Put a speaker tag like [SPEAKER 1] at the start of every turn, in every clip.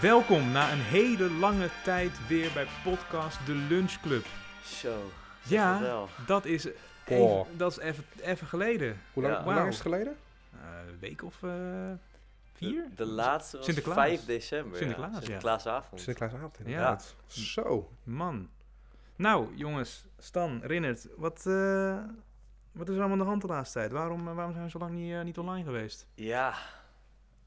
[SPEAKER 1] Welkom na een hele lange tijd weer bij podcast De Lunch Club.
[SPEAKER 2] Zo.
[SPEAKER 1] Ja,
[SPEAKER 2] wel.
[SPEAKER 1] dat is even,
[SPEAKER 3] Oh.
[SPEAKER 1] dat is even, even geleden.
[SPEAKER 3] Hoe lang,
[SPEAKER 2] Ja.
[SPEAKER 3] hoe lang
[SPEAKER 1] Wauw.
[SPEAKER 3] is het geleden?
[SPEAKER 1] Eh, een week of eh, vier?
[SPEAKER 2] De, de laatste was
[SPEAKER 1] Sinterklaas.
[SPEAKER 2] 5 december.
[SPEAKER 1] Sinterklaas, ja.
[SPEAKER 2] ja. Sinterklaasavond.
[SPEAKER 3] Sinterklaasavond
[SPEAKER 1] Ja.
[SPEAKER 3] inderdaad. Zo.
[SPEAKER 1] Man. Nou, jongens, Stan, Rinnert, wat, eh, wat is er allemaal aan de hand de laatste tijd? Waarom, eh, waarom zijn we zo lang niet, eh, niet online geweest?
[SPEAKER 2] Ja,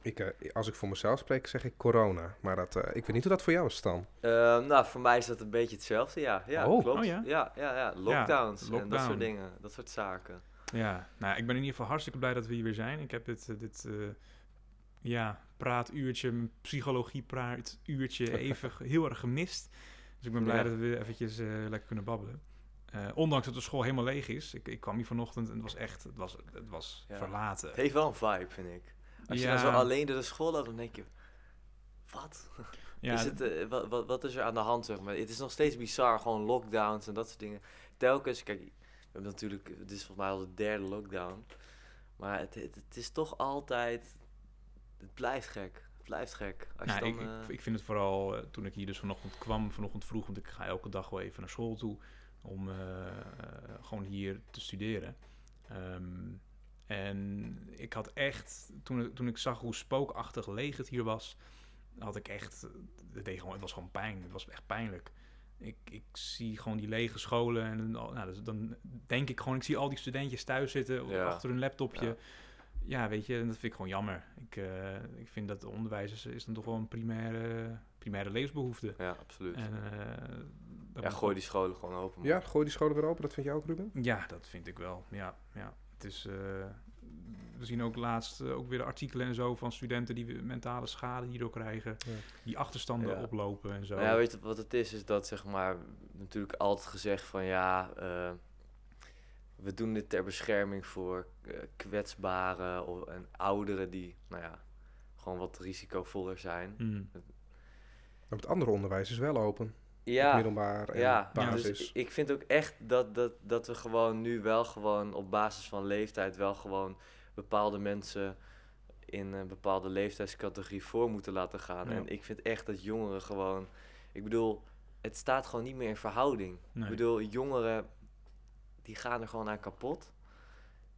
[SPEAKER 3] Ik, eh, als ik voor mezelf spreek, zeg ik corona. Maar dat, eh, ik weet niet hoe dat voor jou is, Stan.
[SPEAKER 2] ehm, nou voor mij is dat een beetje hetzelfde, ja. Ja,
[SPEAKER 3] Oh.
[SPEAKER 2] klopt.
[SPEAKER 1] Oh, ja?
[SPEAKER 2] Ja, ja, ja. Lockdowns en dat
[SPEAKER 1] lockdown.
[SPEAKER 2] soort dingen. Dat soort zaken.
[SPEAKER 1] Ja, nou, ik ben in ieder geval hartstikke blij dat we hier weer zijn. Ik heb dit, eh, dit eh, ja, praatuurtje, mijn psychologie-praatuurtje even ge- heel erg gemist. Dus ik ben blij
[SPEAKER 2] Ja.
[SPEAKER 1] dat we weer eventjes eh, lekker kunnen babbelen. Eh, ondanks dat de school helemaal leeg is. Ik, ik kwam hier vanochtend en het was echt, het was, het was
[SPEAKER 2] Ja.
[SPEAKER 1] verlaten.
[SPEAKER 2] Het heeft wel een vibe, vind ik. Als je
[SPEAKER 1] Ja.
[SPEAKER 2] dan zo alleen door de school loopt, dan denk je... Wat?
[SPEAKER 1] Ja,
[SPEAKER 2] is het, eh, wa- wa- wat, is er aan de hand, zeg maar? Het is nog steeds bizar, gewoon lockdowns en dat soort dingen. Telkens, kijk, we hebben natuurlijk... Het is volgens mij al de derde lockdown. Maar het, het, het is toch altijd... Het blijft gek. Het blijft gek. Als
[SPEAKER 1] nou,
[SPEAKER 2] je
[SPEAKER 1] ik,
[SPEAKER 2] dan,
[SPEAKER 1] ik,
[SPEAKER 2] eh,
[SPEAKER 1] ik vind het vooral eh, toen ik hier dus vanochtend kwam, vanochtend vroeg, want ik ga elke dag wel even naar school toe om eh, eh, gewoon hier te studeren. Ehm, en ik had echt, toen, ik- toen ik zag hoe spookachtig leeg het hier was, had ik echt, het, deed gewoon, het was gewoon pijn, het was echt pijnlijk. Ik, ik zie gewoon die lege scholen en dan- nou, dus dan denk ik gewoon, ik zie al die studentjes thuis zitten
[SPEAKER 2] Ja.
[SPEAKER 1] achter hun laptopje.
[SPEAKER 2] Ja.
[SPEAKER 1] Ja. weet je, en dat vind ik gewoon jammer. Ik, eh, ik vind dat onderwijs is, is dan toch wel een primaire, primaire levensbehoefte.
[SPEAKER 2] Ja, absoluut.
[SPEAKER 1] En, eh, dat
[SPEAKER 2] ja,
[SPEAKER 1] moet-
[SPEAKER 2] gooi die scholen gewoon open. man.
[SPEAKER 3] Ja, gooi die scholen weer open. Dat vind jij ook, Ruben?
[SPEAKER 1] Ja, dat vind ik wel. Ja, ja. Het is, eh, we zien ook laatst eh, ook weer de artikelen en zo van studenten die mentale schade hierdoor krijgen.
[SPEAKER 3] Ja.
[SPEAKER 1] Die achterstanden
[SPEAKER 2] Ja.
[SPEAKER 1] oplopen en zo.
[SPEAKER 2] Nou ja, weet je wat het is? Is dat zeg maar natuurlijk altijd gezegd van ja, eh, we doen dit ter bescherming voor eh, kwetsbaren of, en ouderen die, nou ja, gewoon wat risicovoller zijn.
[SPEAKER 1] Mm.
[SPEAKER 3] Maar het andere onderwijs is wel open. Het
[SPEAKER 2] Ja,
[SPEAKER 3] middelbaar en
[SPEAKER 2] ja.
[SPEAKER 3] basis.
[SPEAKER 2] Dus ik- ik vind ook echt dat, dat, dat we gewoon nu wel gewoon op basis van leeftijd wel gewoon bepaalde mensen in een bepaalde leeftijdscategorie voor moeten laten gaan.
[SPEAKER 1] Ja.
[SPEAKER 2] En ik vind echt dat jongeren gewoon, ik bedoel, het staat gewoon niet meer in verhouding.
[SPEAKER 1] Nee.
[SPEAKER 2] Ik bedoel, jongeren die gaan er gewoon aan kapot.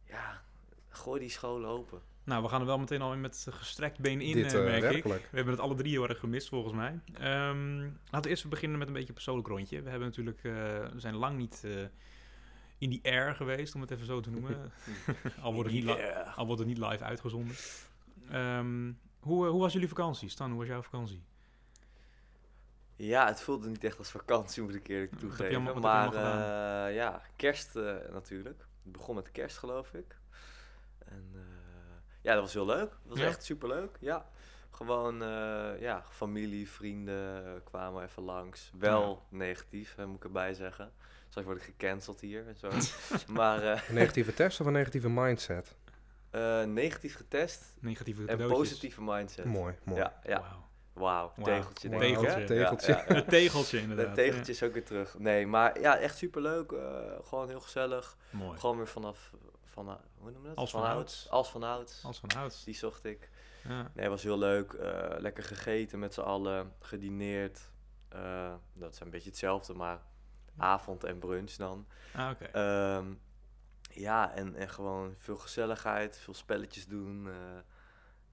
[SPEAKER 2] Ja, gooi die scholen open.
[SPEAKER 1] Nou, we gaan er wel meteen al in met gestrekt been in,
[SPEAKER 3] Dit
[SPEAKER 1] eh,
[SPEAKER 3] eh,
[SPEAKER 1] merk ik.
[SPEAKER 3] werkelijk.
[SPEAKER 1] We hebben het alle drie heel erg gemist, volgens mij. Ehm, laten we eerst even beginnen met een beetje een persoonlijk rondje. We hebben natuurlijk, eh, we zijn lang niet eh, in die air geweest, om het even zo te noemen. al, wordt het niet li-
[SPEAKER 2] Ja.
[SPEAKER 1] al wordt het niet live uitgezonden. Ehm, hoe, eh, hoe was jullie vakantie? Stan, hoe was jouw vakantie?
[SPEAKER 2] Ja, het voelde niet echt als vakantie, moet ik eerlijk
[SPEAKER 1] Wat heb je
[SPEAKER 2] toegeven.
[SPEAKER 1] allemaal- wat heb je
[SPEAKER 2] maar
[SPEAKER 1] allemaal
[SPEAKER 2] eh, ja, kerst eh, natuurlijk. Het begon met kerst, geloof ik. En eh, ja, dat was heel leuk. Dat was
[SPEAKER 1] Ja?
[SPEAKER 2] echt superleuk, ja. Gewoon, eh, ja, familie, vrienden eh, kwamen even langs. Wel negatief, hè, moet ik erbij zeggen. Straks word ik gecanceld hier en zo. maar eh,
[SPEAKER 3] Een negatieve test of een negatieve mindset?
[SPEAKER 2] eh, negatief getest
[SPEAKER 1] Negatieve
[SPEAKER 2] en
[SPEAKER 1] cadeautjes.
[SPEAKER 2] positieve mindset.
[SPEAKER 3] Mooi, mooi.
[SPEAKER 2] Ja, ja.
[SPEAKER 1] Wauw.
[SPEAKER 2] Wauw,
[SPEAKER 1] Wauw.
[SPEAKER 2] tegeltje.
[SPEAKER 3] Wauw,
[SPEAKER 2] denk ik, hè?
[SPEAKER 1] Tegeltje.
[SPEAKER 2] Ja,
[SPEAKER 3] tegeltje.
[SPEAKER 2] ja, ja.
[SPEAKER 1] Het tegeltje inderdaad.
[SPEAKER 2] De tegeltje is ook weer terug. Nee, maar ja, echt superleuk. eh gewoon heel gezellig.
[SPEAKER 1] Ja, mooi.
[SPEAKER 2] Gewoon weer vanaf... Van, eh, hoe noem je dat?
[SPEAKER 1] Als van ouds.
[SPEAKER 2] Als van ouds.
[SPEAKER 1] Als van ouds.
[SPEAKER 2] Die zocht ik.
[SPEAKER 1] Ja.
[SPEAKER 2] Nee, was heel leuk. eh, lekker gegeten met z'n allen. Gedineerd. Eh, dat is een beetje hetzelfde, maar avond en brunch dan.
[SPEAKER 1] Ah, oké.
[SPEAKER 2] Ehm, ja, en, en gewoon veel gezelligheid. Veel spelletjes doen. eh,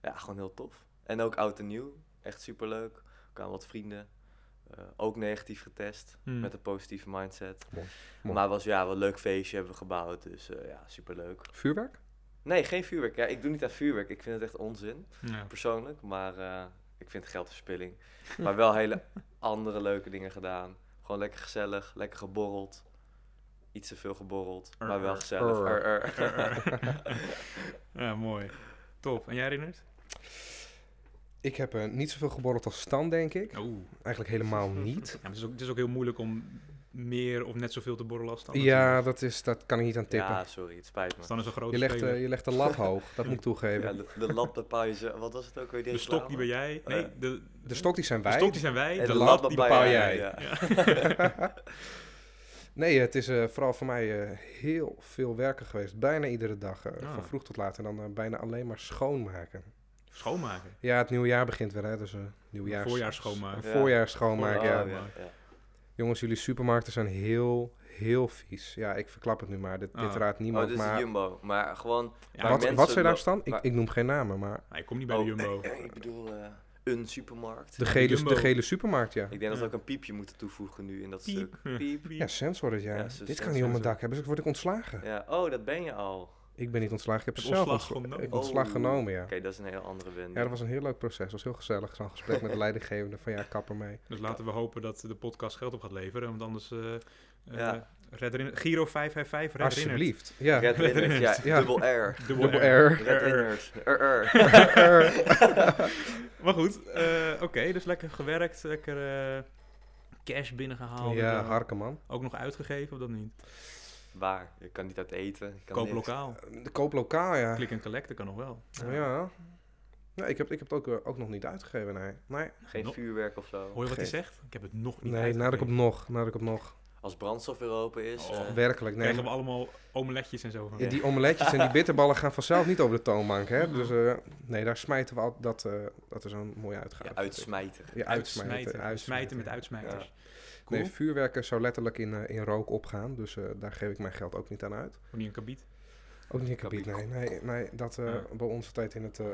[SPEAKER 2] ja, gewoon heel tof. En ook oud en nieuw. Echt superleuk. Er kwamen wat vrienden. eh, ook negatief getest.
[SPEAKER 1] Hmm.
[SPEAKER 2] Met een positieve mindset.
[SPEAKER 3] Hm. Mooi, mooi.
[SPEAKER 2] Maar het was ja, wel een leuk feestje hebben we gebouwd. Dus eh, ja, superleuk.
[SPEAKER 3] Vuurwerk?
[SPEAKER 2] Nee, geen vuurwerk. Ja, ik doe niet aan vuurwerk. Ik vind het echt onzin,
[SPEAKER 1] Ja.
[SPEAKER 2] persoonlijk. Maar eh, ik vind het geldverspilling. Maar wel hele andere leuke dingen gedaan. Gewoon lekker gezellig, lekker geborreld. Iets te veel geborreld, maar wel
[SPEAKER 1] Err.
[SPEAKER 2] gezellig.
[SPEAKER 3] Err.
[SPEAKER 2] Err, err.
[SPEAKER 1] ja, mooi. Top. En jij herinnert?
[SPEAKER 3] Ik heb eh, niet zoveel geborreld als Stan, denk ik.
[SPEAKER 1] Oeh.
[SPEAKER 3] Eigenlijk helemaal niet.
[SPEAKER 1] Ja, maar het, is ook, het is ook heel moeilijk om meer of net zoveel te borrelen als Stan.
[SPEAKER 3] Ja, dat, is, dat kan ik niet aan tippen.
[SPEAKER 2] Ja, sorry, het spijt me.
[SPEAKER 1] Stan is een grote
[SPEAKER 3] je, legt,
[SPEAKER 1] speler.
[SPEAKER 3] eh, je legt de lat hoog, dat moet ik toegeven.
[SPEAKER 2] Ja, de, de lat bepaal je ze- Wat was het ook weer?
[SPEAKER 1] de stok die ben jij.
[SPEAKER 2] Oh, ja.
[SPEAKER 1] Nee, de,
[SPEAKER 3] De stok die zijn
[SPEAKER 1] de
[SPEAKER 3] wij.
[SPEAKER 1] stok die zijn wij.
[SPEAKER 2] En
[SPEAKER 3] de lat bepaal
[SPEAKER 2] je-
[SPEAKER 3] jij.
[SPEAKER 2] ja.
[SPEAKER 3] Nee, het is eh, vooral voor mij eh, heel veel werken geweest. Bijna iedere dag, eh,
[SPEAKER 1] Ah.
[SPEAKER 3] van vroeg tot laat. En dan eh, bijna alleen maar schoonmaken.
[SPEAKER 1] Schoonmaken.
[SPEAKER 3] Ja, het nieuwe jaar begint weer, hè. Dus een nieuwjaars...
[SPEAKER 1] Voorjaar schoonmaken.
[SPEAKER 3] Een
[SPEAKER 2] Ja.
[SPEAKER 3] voorjaar schoonmaken, ja.
[SPEAKER 2] Oh, ja, ja.
[SPEAKER 3] Jongens, jullie supermarkten zijn heel, heel vies. Ja, ik verklap het nu maar. Dit, dit
[SPEAKER 1] Ah.
[SPEAKER 3] raadt
[SPEAKER 2] Oh,
[SPEAKER 3] niemand.
[SPEAKER 2] dit is de
[SPEAKER 3] maar
[SPEAKER 2] Jumbo. Ah. Maar gewoon,
[SPEAKER 1] Ja,
[SPEAKER 2] waar
[SPEAKER 3] wat,
[SPEAKER 1] maar-
[SPEAKER 2] mensen
[SPEAKER 3] wat zijn daar
[SPEAKER 2] lo-
[SPEAKER 3] staan? Ik,
[SPEAKER 2] waar-
[SPEAKER 3] ik noem geen namen, maar
[SPEAKER 1] nou, je komt niet bij de
[SPEAKER 2] Oh,
[SPEAKER 1] Jumbo.
[SPEAKER 2] ik bedoel, eh, een supermarkt.
[SPEAKER 3] de gele,
[SPEAKER 1] Jumbo.
[SPEAKER 3] de gele supermarkt, ja.
[SPEAKER 2] Ik denk dat we
[SPEAKER 1] Ja.
[SPEAKER 2] ook een piepje moeten toevoegen nu in dat
[SPEAKER 1] Piep.
[SPEAKER 2] stuk. Piep.
[SPEAKER 3] Ja, sensor het, ja.
[SPEAKER 2] Ja, ze-
[SPEAKER 3] Dit
[SPEAKER 2] ze-
[SPEAKER 3] kan niet op
[SPEAKER 1] ze-
[SPEAKER 3] mijn
[SPEAKER 1] ze-
[SPEAKER 3] dak hebben, dus word ik ontslagen.
[SPEAKER 2] Ja, oh, dat ben je al.
[SPEAKER 3] Ik ben niet ontslagen, ik heb
[SPEAKER 1] Heb
[SPEAKER 3] zelf
[SPEAKER 1] ontslag
[SPEAKER 3] ontsla-
[SPEAKER 1] genomen?
[SPEAKER 3] ik ontslag
[SPEAKER 2] Oh.
[SPEAKER 3] genomen, ja.
[SPEAKER 2] Oké, dat is een hele andere wending.
[SPEAKER 3] Ja, dat was een heel leuk proces. Dat was heel gezellig, zo'n gesprek met de leidinggevende van ja, kapper mee.
[SPEAKER 1] Dus laten we hopen dat de podcast geld op gaat leveren. Want anders... eh eh,
[SPEAKER 2] Ja.
[SPEAKER 1] Red Rinner- Giro 555, Red Rinner.
[SPEAKER 3] Alsjeblieft. Ja,
[SPEAKER 2] Red Rinners, ja,
[SPEAKER 3] Ja.
[SPEAKER 2] dubbel R.
[SPEAKER 1] Dubbel
[SPEAKER 3] dubbel
[SPEAKER 1] R.
[SPEAKER 3] R.
[SPEAKER 2] Red
[SPEAKER 1] R.
[SPEAKER 2] Rinners. R, R.
[SPEAKER 1] Maar goed, eh, oké, dus lekker gewerkt, lekker eh, cash binnengehaald.
[SPEAKER 3] Ja,
[SPEAKER 1] Eh,
[SPEAKER 3] harken man.
[SPEAKER 1] Ook nog uitgegeven, of dat niet?
[SPEAKER 2] Waar? Je kan niet uit eten. je kan
[SPEAKER 1] Koop
[SPEAKER 2] niks.
[SPEAKER 1] lokaal.
[SPEAKER 3] De koop lokaal, ja.
[SPEAKER 1] Klik en collecten kan nog wel.
[SPEAKER 3] Ja. Nee, ik heb, ik heb het ook, eh, ook nog niet uitgegeven, nee. Nee,
[SPEAKER 2] Geen
[SPEAKER 1] No-
[SPEAKER 2] vuurwerk of zo.
[SPEAKER 1] Hoor je wat hij
[SPEAKER 3] Geef.
[SPEAKER 1] zegt? Ik heb het nog niet
[SPEAKER 3] nee nadat ik op
[SPEAKER 1] uitgegeven.
[SPEAKER 3] nog, nadat ik op nog.
[SPEAKER 2] Als brandstof weer open is.
[SPEAKER 1] Oh.
[SPEAKER 2] eh,
[SPEAKER 3] Werkelijk, nee.
[SPEAKER 1] Krijgen we allemaal omeletjes en zo van.
[SPEAKER 3] Ja, die omeletjes en die bitterballen gaan vanzelf niet over de toonbank, hè. Dus eh, nee, daar smijten we al dat, eh, dat is een mooie uitgave.
[SPEAKER 2] ja,
[SPEAKER 3] vind ik.
[SPEAKER 2] uitsmijten.
[SPEAKER 3] Ja, uitsmijten.
[SPEAKER 1] Uitsmijten, smijten met uitsmijters. Cool.
[SPEAKER 3] Nee, vuurwerken zou letterlijk in, eh, in rook opgaan, dus eh, daar geef ik mijn geld ook niet aan uit.
[SPEAKER 1] Ook Oh, niet een kabiet.
[SPEAKER 3] Ook niet in kabiet, nee. nee, nee dat eh,
[SPEAKER 1] Ja.
[SPEAKER 3] bij onze tijd in het... eh,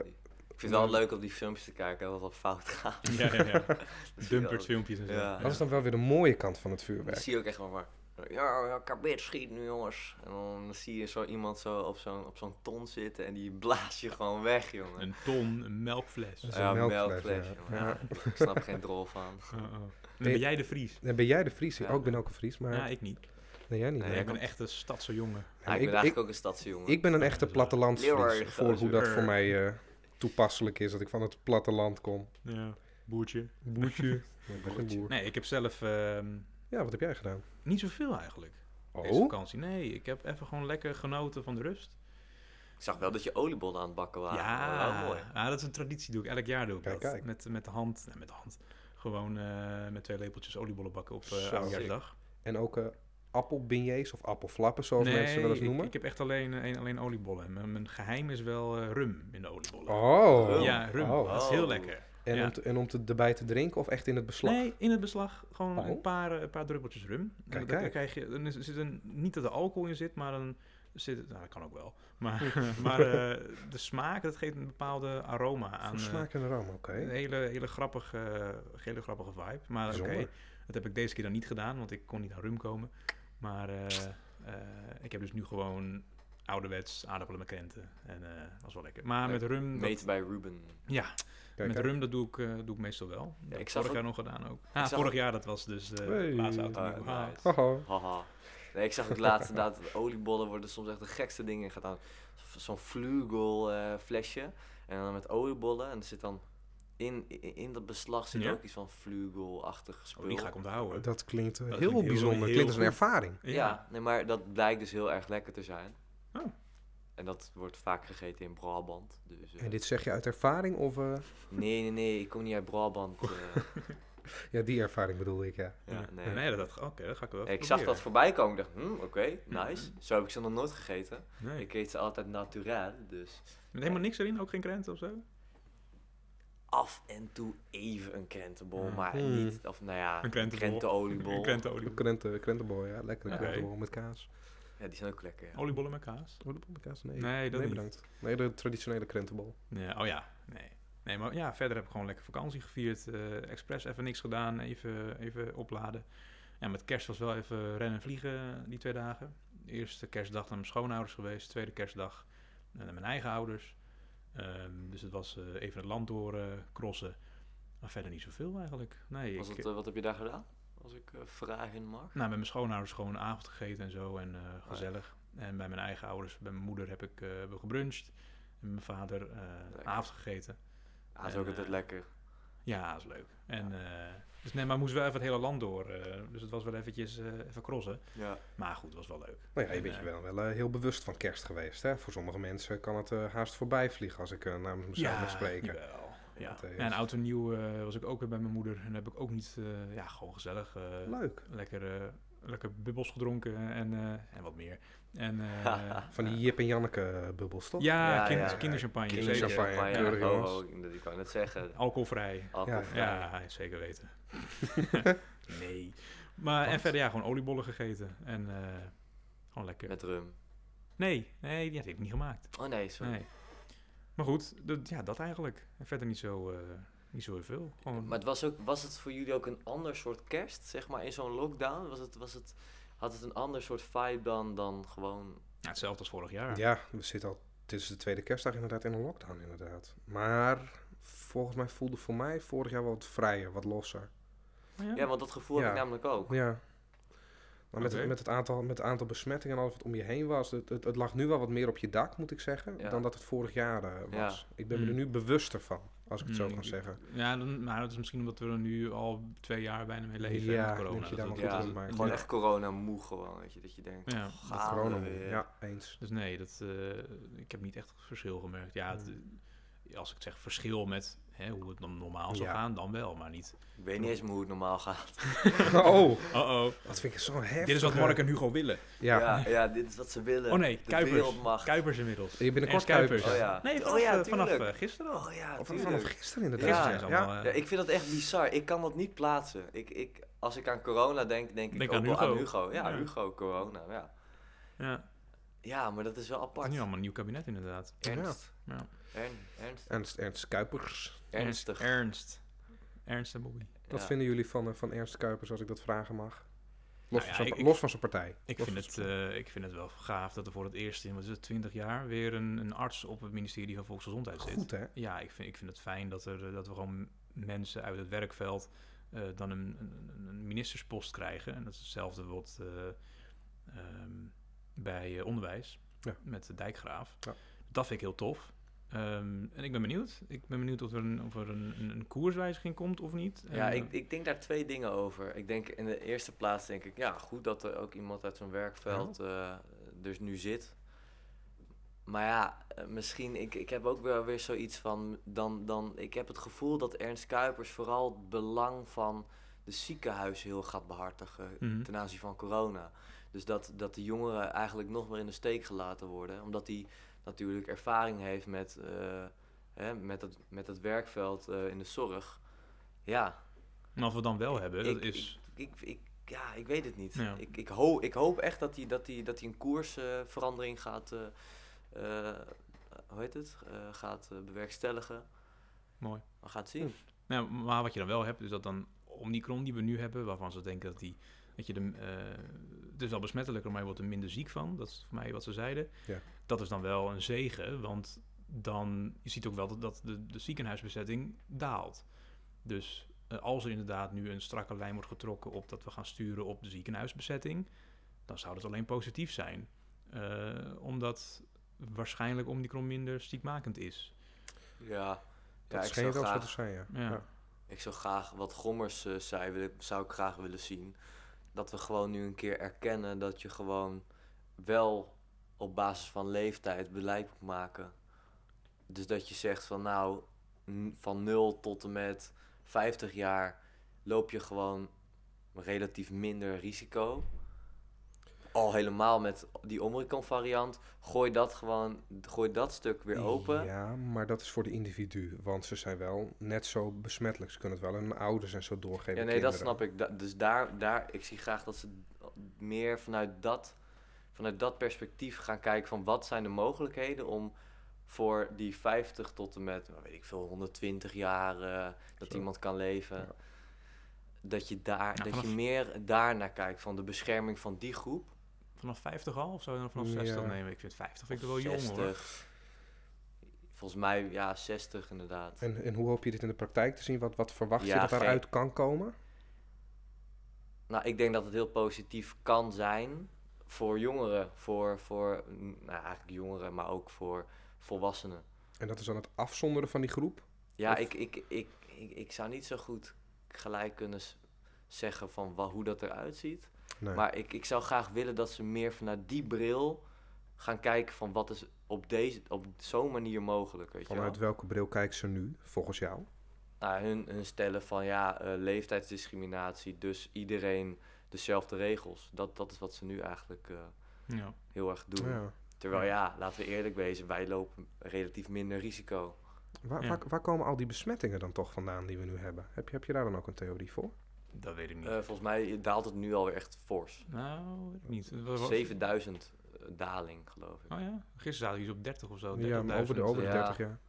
[SPEAKER 2] Ik vind het wel leuk om die filmpjes te kijken, wat wat fout gaat.
[SPEAKER 1] Ja, ja, ja.
[SPEAKER 2] Dat zie je
[SPEAKER 1] Dumpert
[SPEAKER 2] wel.
[SPEAKER 1] filmpjes en zo.
[SPEAKER 2] Ja.
[SPEAKER 3] Dat is dan wel weer de mooie kant van het
[SPEAKER 2] Dan
[SPEAKER 3] vuurwerk.
[SPEAKER 2] zie je ook echt wel maar... Ja, ja, kabit schiet nu jongens. En dan zie je zo iemand zo op zo'n op zo'n ton zitten en die blaast je gewoon weg, jongen.
[SPEAKER 1] Een ton, een melkfles.
[SPEAKER 3] Dat is
[SPEAKER 2] ja,
[SPEAKER 3] een melkfles,
[SPEAKER 2] melkfles,
[SPEAKER 3] ja.
[SPEAKER 2] jongen.
[SPEAKER 3] Ja.
[SPEAKER 2] Ja, ik snap er geen drol van.
[SPEAKER 1] Oh, oh. Dan ben jij de Fries.
[SPEAKER 3] En ben jij de Fries?
[SPEAKER 2] Ja.
[SPEAKER 3] Oh, ik ben ook een Fries, maar...
[SPEAKER 1] Ja, ik niet.
[SPEAKER 3] Nee, jij niet.
[SPEAKER 2] Nee,
[SPEAKER 1] Nee,
[SPEAKER 3] hè?
[SPEAKER 1] ik ben echt een stadse jongen.
[SPEAKER 2] Ah, ik,
[SPEAKER 3] ik-
[SPEAKER 2] ben
[SPEAKER 3] ik-
[SPEAKER 2] eigenlijk ook een stadsjongen.
[SPEAKER 3] Ik ben een echte
[SPEAKER 1] Ja.
[SPEAKER 3] plattelandsvries,
[SPEAKER 2] Leeuwarden,
[SPEAKER 3] voor hoe dat
[SPEAKER 1] eh.
[SPEAKER 3] voor mij eh, toepasselijk is, dat ik van het platteland kom.
[SPEAKER 1] Ja, boertje.
[SPEAKER 3] Boertje. Ja, ik ben geen boer.
[SPEAKER 1] Nee, ik heb zelf ehm,
[SPEAKER 3] Ja, wat heb jij gedaan?
[SPEAKER 1] niet zoveel eigenlijk. Deze
[SPEAKER 3] Oh?
[SPEAKER 1] vakantie. Nee, ik heb even gewoon lekker genoten van de rust.
[SPEAKER 2] Ik zag wel dat je oliebollen aan het bakken waren.
[SPEAKER 1] ja,
[SPEAKER 2] Oh, mooi.
[SPEAKER 1] Ah, dat is een traditie. Doe ik elk jaar doe ik
[SPEAKER 3] Kijk,
[SPEAKER 1] dat.
[SPEAKER 3] kijk.
[SPEAKER 1] Met, met de hand. Nee, met de hand. Gewoon eh, met twee lepeltjes oliebollen bakken op
[SPEAKER 3] Zo.
[SPEAKER 1] eh oudjaarsdag.
[SPEAKER 3] En ook eh appelbeignets of appelflappen, zoals mensen wel eens
[SPEAKER 1] ik,
[SPEAKER 3] noemen.
[SPEAKER 1] ik heb echt alleen, eh, één- alleen oliebollen. En Mijn, mijn geheim is wel eh, rum in de oliebollen.
[SPEAKER 3] Oh.
[SPEAKER 1] Ja, rum.
[SPEAKER 3] Oh.
[SPEAKER 1] Dat is heel
[SPEAKER 2] Oh.
[SPEAKER 1] lekker.
[SPEAKER 3] En,
[SPEAKER 1] ja.
[SPEAKER 3] om te, en om te, erbij te drinken of echt in het beslag?
[SPEAKER 1] Nee, in het beslag gewoon
[SPEAKER 3] Oh.
[SPEAKER 1] een, paar, eh, een paar druppeltjes rum. En
[SPEAKER 3] Kijk,
[SPEAKER 1] dan,
[SPEAKER 3] kijk.
[SPEAKER 1] krijg je, dan is, zit een, niet dat er alcohol in zit, maar dan zit het, nou dat kan ook wel. Maar, maar eh, de smaak, dat geeft een bepaalde aroma aan.
[SPEAKER 3] Voor
[SPEAKER 1] eh,
[SPEAKER 3] smaak en aroma, oké.
[SPEAKER 1] een hele, hele, grappige, eh, hele grappige vibe. Maar oké,
[SPEAKER 3] Bijzonder.
[SPEAKER 1] dat heb ik deze keer dan niet gedaan, want ik kon niet aan rum komen. Maar eh, eh, ik heb dus nu gewoon ouderwets aardappelen met krenten. En eh was wel lekker. Maar met rum, dat-
[SPEAKER 2] Meten bij Ruben.
[SPEAKER 1] ja,
[SPEAKER 3] Kijk,
[SPEAKER 1] met
[SPEAKER 3] kijk.
[SPEAKER 1] rum, dat doe ik, eh, doe ik meestal wel. Dat
[SPEAKER 2] Ja,
[SPEAKER 1] heb
[SPEAKER 2] ik
[SPEAKER 1] ik
[SPEAKER 2] zag
[SPEAKER 1] vorig jaar nog gedaan ook. Ah,
[SPEAKER 2] zag
[SPEAKER 1] vorig
[SPEAKER 2] ook-
[SPEAKER 1] jaar, dat was dus eh
[SPEAKER 3] Hey.
[SPEAKER 1] de laatste auto.
[SPEAKER 2] Ah,
[SPEAKER 1] die ik had.
[SPEAKER 2] nice.
[SPEAKER 3] Haha.
[SPEAKER 2] Haha. Nee, ik zag ook laatst inderdaad, dat oliebollen worden soms echt de gekste dingen in gedaan. V- Zo'n flugel eh, flesje en dan met oliebollen en er zit dan in, in, in dat beslag zit
[SPEAKER 1] Ja?
[SPEAKER 2] ook iets van flugelachtig spul.
[SPEAKER 1] Oh, die ga ik onthouden.
[SPEAKER 3] Dat klinkt eh,
[SPEAKER 1] Dat
[SPEAKER 3] heel
[SPEAKER 1] klinkt heel-
[SPEAKER 3] bijzonder.
[SPEAKER 1] heel
[SPEAKER 3] klinkt als
[SPEAKER 1] goed.
[SPEAKER 3] een ervaring.
[SPEAKER 2] ja. nee, maar dat blijkt dus heel erg lekker te zijn.
[SPEAKER 1] Oh.
[SPEAKER 2] En dat wordt vaak gegeten in Brabant. Dus, eh,
[SPEAKER 3] En dit zeg je uit ervaring of... eh,
[SPEAKER 2] Nee, nee, nee, ik kom niet uit Brabant. eh,
[SPEAKER 3] ja, die ervaring bedoel ik, ja.
[SPEAKER 2] ja,
[SPEAKER 1] Ja.
[SPEAKER 2] nee.
[SPEAKER 1] nee. dat, dat, oké, dat ga ik wel even
[SPEAKER 2] Ik zag dat
[SPEAKER 1] proberen.
[SPEAKER 2] voorbij komen. Ik dacht, hm, oké, nice. Zo heb ik ze nog nooit gegeten.
[SPEAKER 1] Nee.
[SPEAKER 2] Ik eet ze altijd naturel, dus
[SPEAKER 1] Met helemaal niks erin, ook geen krenten of zo?
[SPEAKER 2] af en toe even een krentenbol,
[SPEAKER 1] Ja.
[SPEAKER 2] maar
[SPEAKER 3] Hmm.
[SPEAKER 2] niet, of nou ja,
[SPEAKER 1] Een
[SPEAKER 2] een
[SPEAKER 1] krentenbol.
[SPEAKER 2] krentenooliebol.
[SPEAKER 1] Krentenolie.
[SPEAKER 3] Krenten, krentenbol, eh, ja. Lekker
[SPEAKER 1] Oké.
[SPEAKER 3] krentenbol met kaas.
[SPEAKER 2] Ja, die zijn ook lekker. Ja.
[SPEAKER 1] Oliebollen met kaas?
[SPEAKER 3] Oh, de met kaas? Nee,
[SPEAKER 1] Nee, dat niet.
[SPEAKER 3] bedankt. Nee, de traditionele krentenbol.
[SPEAKER 1] Nee, oh ja, nee. Nee, maar ja, verder heb ik gewoon lekker vakantie gevierd. eh express even niks gedaan, even, even opladen. Ja, met kerst was wel even rennen en vliegen eh, die twee dagen. De eerste kerstdag naar mijn schoonouders geweest, tweede kerstdag eh, naar mijn eigen ouders. Ehm, dus het was eh, even het land door eh, crossen. Maar verder niet zoveel eigenlijk. Nee,
[SPEAKER 2] Was
[SPEAKER 1] ik,
[SPEAKER 2] het, eh, wat heb je daar gedaan? Als ik eh, vragen mag.
[SPEAKER 1] nou, met mijn schoonouders gewoon avond gegeten en zo
[SPEAKER 2] Oh
[SPEAKER 1] en eh, gezellig. En bij mijn eigen ouders, bij mijn moeder heb ik eh hebben we gebruncht. En mijn vader eh,
[SPEAKER 2] Lekker.
[SPEAKER 1] avond gegeten.
[SPEAKER 2] Ah, dat is
[SPEAKER 1] En,
[SPEAKER 2] ook altijd
[SPEAKER 1] eh,
[SPEAKER 2] lekker.
[SPEAKER 1] Ja, dat is leuk. En, eh, dus nee, maar moest wel even het hele land door. eh, dus het was wel eventjes eh, even crossen.
[SPEAKER 2] Ja.
[SPEAKER 1] Maar goed, het was wel leuk.
[SPEAKER 3] Nou ja, je
[SPEAKER 1] En,
[SPEAKER 3] bent je
[SPEAKER 1] eh,
[SPEAKER 3] wel, wel eh, heel bewust van kerst geweest, hè. Voor sommige mensen kan het eh, haast voorbij vliegen als ik eh, namens mezelf mag spreken.
[SPEAKER 1] jawel. Ja.
[SPEAKER 3] Dat, eh,
[SPEAKER 1] Ja, en oud en nieuw eh, was ik ook weer bij mijn moeder. En heb ik ook niet, eh, ja, gewoon gezellig. eh,
[SPEAKER 3] Leuk.
[SPEAKER 1] lekker eh, lekker bubbels gedronken en, eh, en wat meer. En, eh,
[SPEAKER 3] Van die Jip en Janneke eh, bubbels, toch?
[SPEAKER 1] ja,
[SPEAKER 2] Ja,
[SPEAKER 1] kinder-
[SPEAKER 2] ja.
[SPEAKER 1] kinderchampagne,
[SPEAKER 3] Kinderchampagne.
[SPEAKER 1] zeker.
[SPEAKER 3] champagne,
[SPEAKER 2] ja,
[SPEAKER 3] keurig,
[SPEAKER 2] oh,
[SPEAKER 3] jongens.
[SPEAKER 2] oh, ik- ik wou net zeggen.
[SPEAKER 1] Alcoholvrij.
[SPEAKER 2] Alcoholvrij.
[SPEAKER 1] Ja, zeker weten. nee. Maar en
[SPEAKER 3] Want?
[SPEAKER 1] verder, ja, gewoon oliebollen gegeten. En eh, gewoon lekker.
[SPEAKER 2] Met rum.
[SPEAKER 1] Nee, nee, die had ik niet gemaakt.
[SPEAKER 2] Oh nee, sorry.
[SPEAKER 1] Nee. Maar goed, dat, ja, dat eigenlijk. En verder niet zo, eh, niet zo heel veel. Gewoon,
[SPEAKER 2] Maar het was, ook, was het voor jullie ook een ander soort kerst, zeg maar, in zo'n lockdown? Was het, was het, had het een ander soort vibe dan, dan gewoon...
[SPEAKER 1] ja, hetzelfde als vorig jaar.
[SPEAKER 3] Ja, we zitten al. Dit is de tweede kerstdag inderdaad in een lockdown, inderdaad. Maar volgens mij voelde voor mij vorig jaar wel wat vrijer, wat losser.
[SPEAKER 1] Ja.
[SPEAKER 2] Ja, want dat gevoel heb
[SPEAKER 3] Ja.
[SPEAKER 2] ik namelijk ook.
[SPEAKER 3] Ja. Maar met,
[SPEAKER 1] Oké.
[SPEAKER 3] het, met, het aantal, met het aantal besmettingen en alles wat om je heen was, het, het, het lag nu wel wat meer op je dak, moet ik zeggen,
[SPEAKER 2] Ja.
[SPEAKER 3] dan dat het vorig jaar eh, was. Ik ben me er
[SPEAKER 1] Mm.
[SPEAKER 3] nu bewuster van, als ik het zo
[SPEAKER 1] Mm,
[SPEAKER 3] kan zeggen.
[SPEAKER 1] Ja, dan, maar dat is misschien omdat we er nu al twee jaar bijna mee leven
[SPEAKER 3] Ja,
[SPEAKER 1] met corona.
[SPEAKER 3] moet je
[SPEAKER 1] Dat
[SPEAKER 3] daar
[SPEAKER 1] het-
[SPEAKER 3] maar goed
[SPEAKER 2] Ja,
[SPEAKER 3] om maken.
[SPEAKER 2] Gewoon
[SPEAKER 1] Ja.
[SPEAKER 2] echt corona-moe gewoon, weet je, dat je denkt...
[SPEAKER 1] Ja.
[SPEAKER 2] "Oh,
[SPEAKER 3] Dat
[SPEAKER 2] gaan we
[SPEAKER 3] corona.
[SPEAKER 2] weer."
[SPEAKER 3] Ja, eens.
[SPEAKER 1] Dus nee, dat, eh, ik heb niet echt verschil gemerkt. Ja, het- als ik zeg verschil met hè, hoe het dan normaal zou
[SPEAKER 3] Ja.
[SPEAKER 1] gaan, dan wel, maar niet.
[SPEAKER 2] Ik weet niet eens meer hoe het normaal gaat.
[SPEAKER 3] oh,
[SPEAKER 1] Oh-oh,
[SPEAKER 3] wat vind ik zo heftig. eh.
[SPEAKER 1] dit is wat Mark en Hugo willen.
[SPEAKER 3] Ja,
[SPEAKER 2] Ja. Ja, dit is wat ze willen.
[SPEAKER 1] Oh nee,
[SPEAKER 2] De
[SPEAKER 1] Kuipers.
[SPEAKER 2] wereldmacht.
[SPEAKER 1] Kuipers inmiddels.
[SPEAKER 3] je bent een
[SPEAKER 1] Ernst
[SPEAKER 3] kort Kuipers.
[SPEAKER 2] Oh ja.
[SPEAKER 1] Nee,
[SPEAKER 2] Oh
[SPEAKER 1] vanaf,
[SPEAKER 2] ja,
[SPEAKER 1] eh, vanaf
[SPEAKER 2] tuurlijk.
[SPEAKER 1] eh, gisteren al.
[SPEAKER 2] Oh ja,
[SPEAKER 3] Of
[SPEAKER 2] tuurlijk.
[SPEAKER 3] vanaf gisteren
[SPEAKER 1] Gisteren
[SPEAKER 3] inderdaad.
[SPEAKER 1] zijn
[SPEAKER 3] Ja,
[SPEAKER 1] ze
[SPEAKER 3] ja.
[SPEAKER 1] allemaal, eh,
[SPEAKER 2] Ja, ik vind dat echt bizar. Ik kan dat niet plaatsen. Ik, ik, als ik aan corona denk, denk ik
[SPEAKER 1] Denk
[SPEAKER 2] ook
[SPEAKER 1] aan
[SPEAKER 2] wel
[SPEAKER 1] Hugo.
[SPEAKER 2] aan Hugo. Ja,
[SPEAKER 1] Ja.
[SPEAKER 2] Hugo, corona. Ja.
[SPEAKER 1] ja. Het
[SPEAKER 2] ja, maar dat is wel
[SPEAKER 1] is
[SPEAKER 2] apart.
[SPEAKER 1] nu allemaal een nieuw kabinet inderdaad.
[SPEAKER 2] Ernst.
[SPEAKER 1] Ja.
[SPEAKER 2] Ern- ernst.
[SPEAKER 1] eh,
[SPEAKER 3] Ernst, Ernst Kuipers.
[SPEAKER 2] Ernstig.
[SPEAKER 1] Ernst. Ernst en Bobby.
[SPEAKER 3] Wat
[SPEAKER 2] Ja.
[SPEAKER 3] vinden jullie van, eh, van Ernst Kuipers, als ik dat vragen mag? Los,
[SPEAKER 1] Nou ja,
[SPEAKER 3] van, zijn,
[SPEAKER 1] ik-
[SPEAKER 3] los van zijn partij.
[SPEAKER 1] Ik
[SPEAKER 3] Los
[SPEAKER 1] vind,
[SPEAKER 3] van
[SPEAKER 1] het, eh, ik vind het wel gaaf dat er voor het eerst in wat is het, 20 jaar weer een, een arts op het ministerie van Volksgezondheid
[SPEAKER 3] zijn-
[SPEAKER 1] zit.
[SPEAKER 3] Goed, hè?
[SPEAKER 1] Ja, ik vind, ik vind het fijn dat, er, eh, dat we gewoon mensen uit het werkveld eh, dan een, een, een- een ministerspost krijgen. En dat is hetzelfde wat eh, ehm, bij eh, onderwijs
[SPEAKER 3] Ja.
[SPEAKER 1] met de dijkgraaf.
[SPEAKER 3] Ja.
[SPEAKER 1] Dat vind ik heel tof. Ehm, en ik ben benieuwd. Ik ben benieuwd of er een, of er een, een, een koerswijziging komt of niet. Eh,
[SPEAKER 2] Ja,
[SPEAKER 1] En,
[SPEAKER 2] ik, ik denk daar twee dingen over. Ik denk in de eerste plaats denk ik, ja, goed dat er ook iemand uit zo'n werkveld eh, dus nu zit. Maar ja, eh, misschien, ik, ik heb ook wel weer zoiets van, dan, dan, ik heb het gevoel dat Ernst Kuipers vooral het belang van de ziekenhuizen heel gaat behartigen
[SPEAKER 1] Mhm.
[SPEAKER 2] ten aanzien van corona. Dus dat, dat de jongeren eigenlijk nog meer in de steek gelaten worden, omdat die natuurlijk ervaring heeft met, eh, hè, met, het, met het werkveld eh, in de zorg. Ja,
[SPEAKER 1] En als we het dan wel hebben, dat
[SPEAKER 2] ik,
[SPEAKER 1] is...
[SPEAKER 2] Ik, ik, ik- ja, ik weet het niet.
[SPEAKER 1] Ja.
[SPEAKER 2] Ik, ik, hoop, ik hoop echt dat hij dat die, dat die een koersverandering gaat, eh, eh, hoe heet het? Eh, gaat eh, bewerkstelligen.
[SPEAKER 1] Mooi.
[SPEAKER 2] We gaan het zien.
[SPEAKER 1] Nou, maar wat je dan wel hebt, is dat dan Omicron die we nu hebben, waarvan ze denken dat die. Dat je de, eh, het is wel besmettelijker, maar je wordt er minder ziek van. Dat is voor mij wat ze zeiden.
[SPEAKER 3] Ja.
[SPEAKER 1] Dat is dan wel een zegen, want dan je ziet ook wel dat, dat de, de ziekenhuisbezetting daalt. Dus eh, als er inderdaad nu een strakke lijn wordt getrokken op dat we gaan sturen op de ziekenhuisbezetting, dan zou dat alleen positief zijn. Eh, omdat waarschijnlijk Omicron minder stiekmakend is.
[SPEAKER 2] Ja. Ja,
[SPEAKER 3] Hm. Dat
[SPEAKER 2] ik
[SPEAKER 3] scheen
[SPEAKER 2] zou,
[SPEAKER 3] het ook zo te
[SPEAKER 2] graag,
[SPEAKER 3] zijn, ja.
[SPEAKER 1] Ja.
[SPEAKER 3] Ja.
[SPEAKER 2] ik zou graag, wat Gommers eh, zei, wil ik- zou ik graag willen zien. Dat we gewoon nu een keer erkennen dat je gewoon wel op basis van leeftijd beleid moet maken. Dus dat je zegt van nou, n- van 0 tot en met 50 jaar loop je gewoon relatief minder risico. Al helemaal met die Omicron variant. Gooi dat gewoon, gooi dat stuk weer open.
[SPEAKER 3] Ja, maar dat is voor de individu. Want ze zijn wel net zo besmettelijk. Ze kunnen het wel aan hun ouders en zo doorgeven.
[SPEAKER 2] Ja, nee, dat snap ik. Da- dus daar, daar, ik zie graag dat ze meer vanuit dat, vanuit dat perspectief gaan kijken van wat zijn de mogelijkheden om voor die 50 tot en met, nou, weet ik veel, 120 jaar eh, dat
[SPEAKER 3] Zo.
[SPEAKER 2] iemand kan leven.
[SPEAKER 3] Ja.
[SPEAKER 2] Dat je daar,
[SPEAKER 1] Ja,
[SPEAKER 2] dat je
[SPEAKER 1] vanaf-
[SPEAKER 2] meer daar naar kijkt van de bescherming van die groep.
[SPEAKER 1] Vanaf 50 al of zo, dan vanaf
[SPEAKER 3] Ja.
[SPEAKER 1] 60 nemen. Ik vind 50 vind ik er wel
[SPEAKER 2] Of
[SPEAKER 1] jong hoor.
[SPEAKER 2] 60. Volgens mij, ja, 60 inderdaad.
[SPEAKER 3] En, en hoe hoop je dit in de praktijk te zien? Wat, wat verwacht je
[SPEAKER 2] Ja,
[SPEAKER 3] dat
[SPEAKER 2] geen-
[SPEAKER 3] daaruit kan komen?
[SPEAKER 2] Nou, ik denk dat het heel positief kan zijn voor jongeren. Voor, voor mm, nou, eigenlijk jongeren, maar ook voor volwassenen.
[SPEAKER 3] En dat is dan het afzonderen van die groep?
[SPEAKER 2] Ja,
[SPEAKER 3] Of-
[SPEAKER 2] ik, ik, ik, ik, ik zou niet zo goed gelijk kunnen s- zeggen van wa- hoe dat eruit ziet.
[SPEAKER 3] Nee.
[SPEAKER 2] Maar ik, ik zou graag willen dat ze meer vanuit die bril gaan kijken van wat is op, deze, op zo'n manier mogelijk. Weet je wel?
[SPEAKER 3] Vanuit welke bril kijken ze nu, volgens jou?
[SPEAKER 2] Nou, hun, hun stellen van ja, eh, leeftijdsdiscriminatie. Dus iedereen dezelfde regels. Dat, dat is wat ze nu eigenlijk eh,
[SPEAKER 1] Ja.
[SPEAKER 2] heel erg doen.
[SPEAKER 3] Ja.
[SPEAKER 2] Terwijl ja, laten we eerlijk wezen, wij lopen relatief minder risico.
[SPEAKER 3] Waar,
[SPEAKER 1] Ja.
[SPEAKER 3] Waar, waar komen al die besmettingen dan toch vandaan die we nu hebben? Heb je, heb je daar dan ook een theorie
[SPEAKER 2] Oh,
[SPEAKER 3] voor?
[SPEAKER 1] Dat weet ik niet.
[SPEAKER 2] Eh, volgens mij daalt het nu alweer echt fors.
[SPEAKER 1] nou, weet ik niet.
[SPEAKER 2] Eh,
[SPEAKER 1] Het was-
[SPEAKER 2] 7000 daling, geloof ik.
[SPEAKER 1] Oh ja, gisteren zaten we op 30 of zo.
[SPEAKER 3] ja, maar over
[SPEAKER 1] 30.000.
[SPEAKER 3] de, over de
[SPEAKER 2] Ja.
[SPEAKER 3] 30 jaar.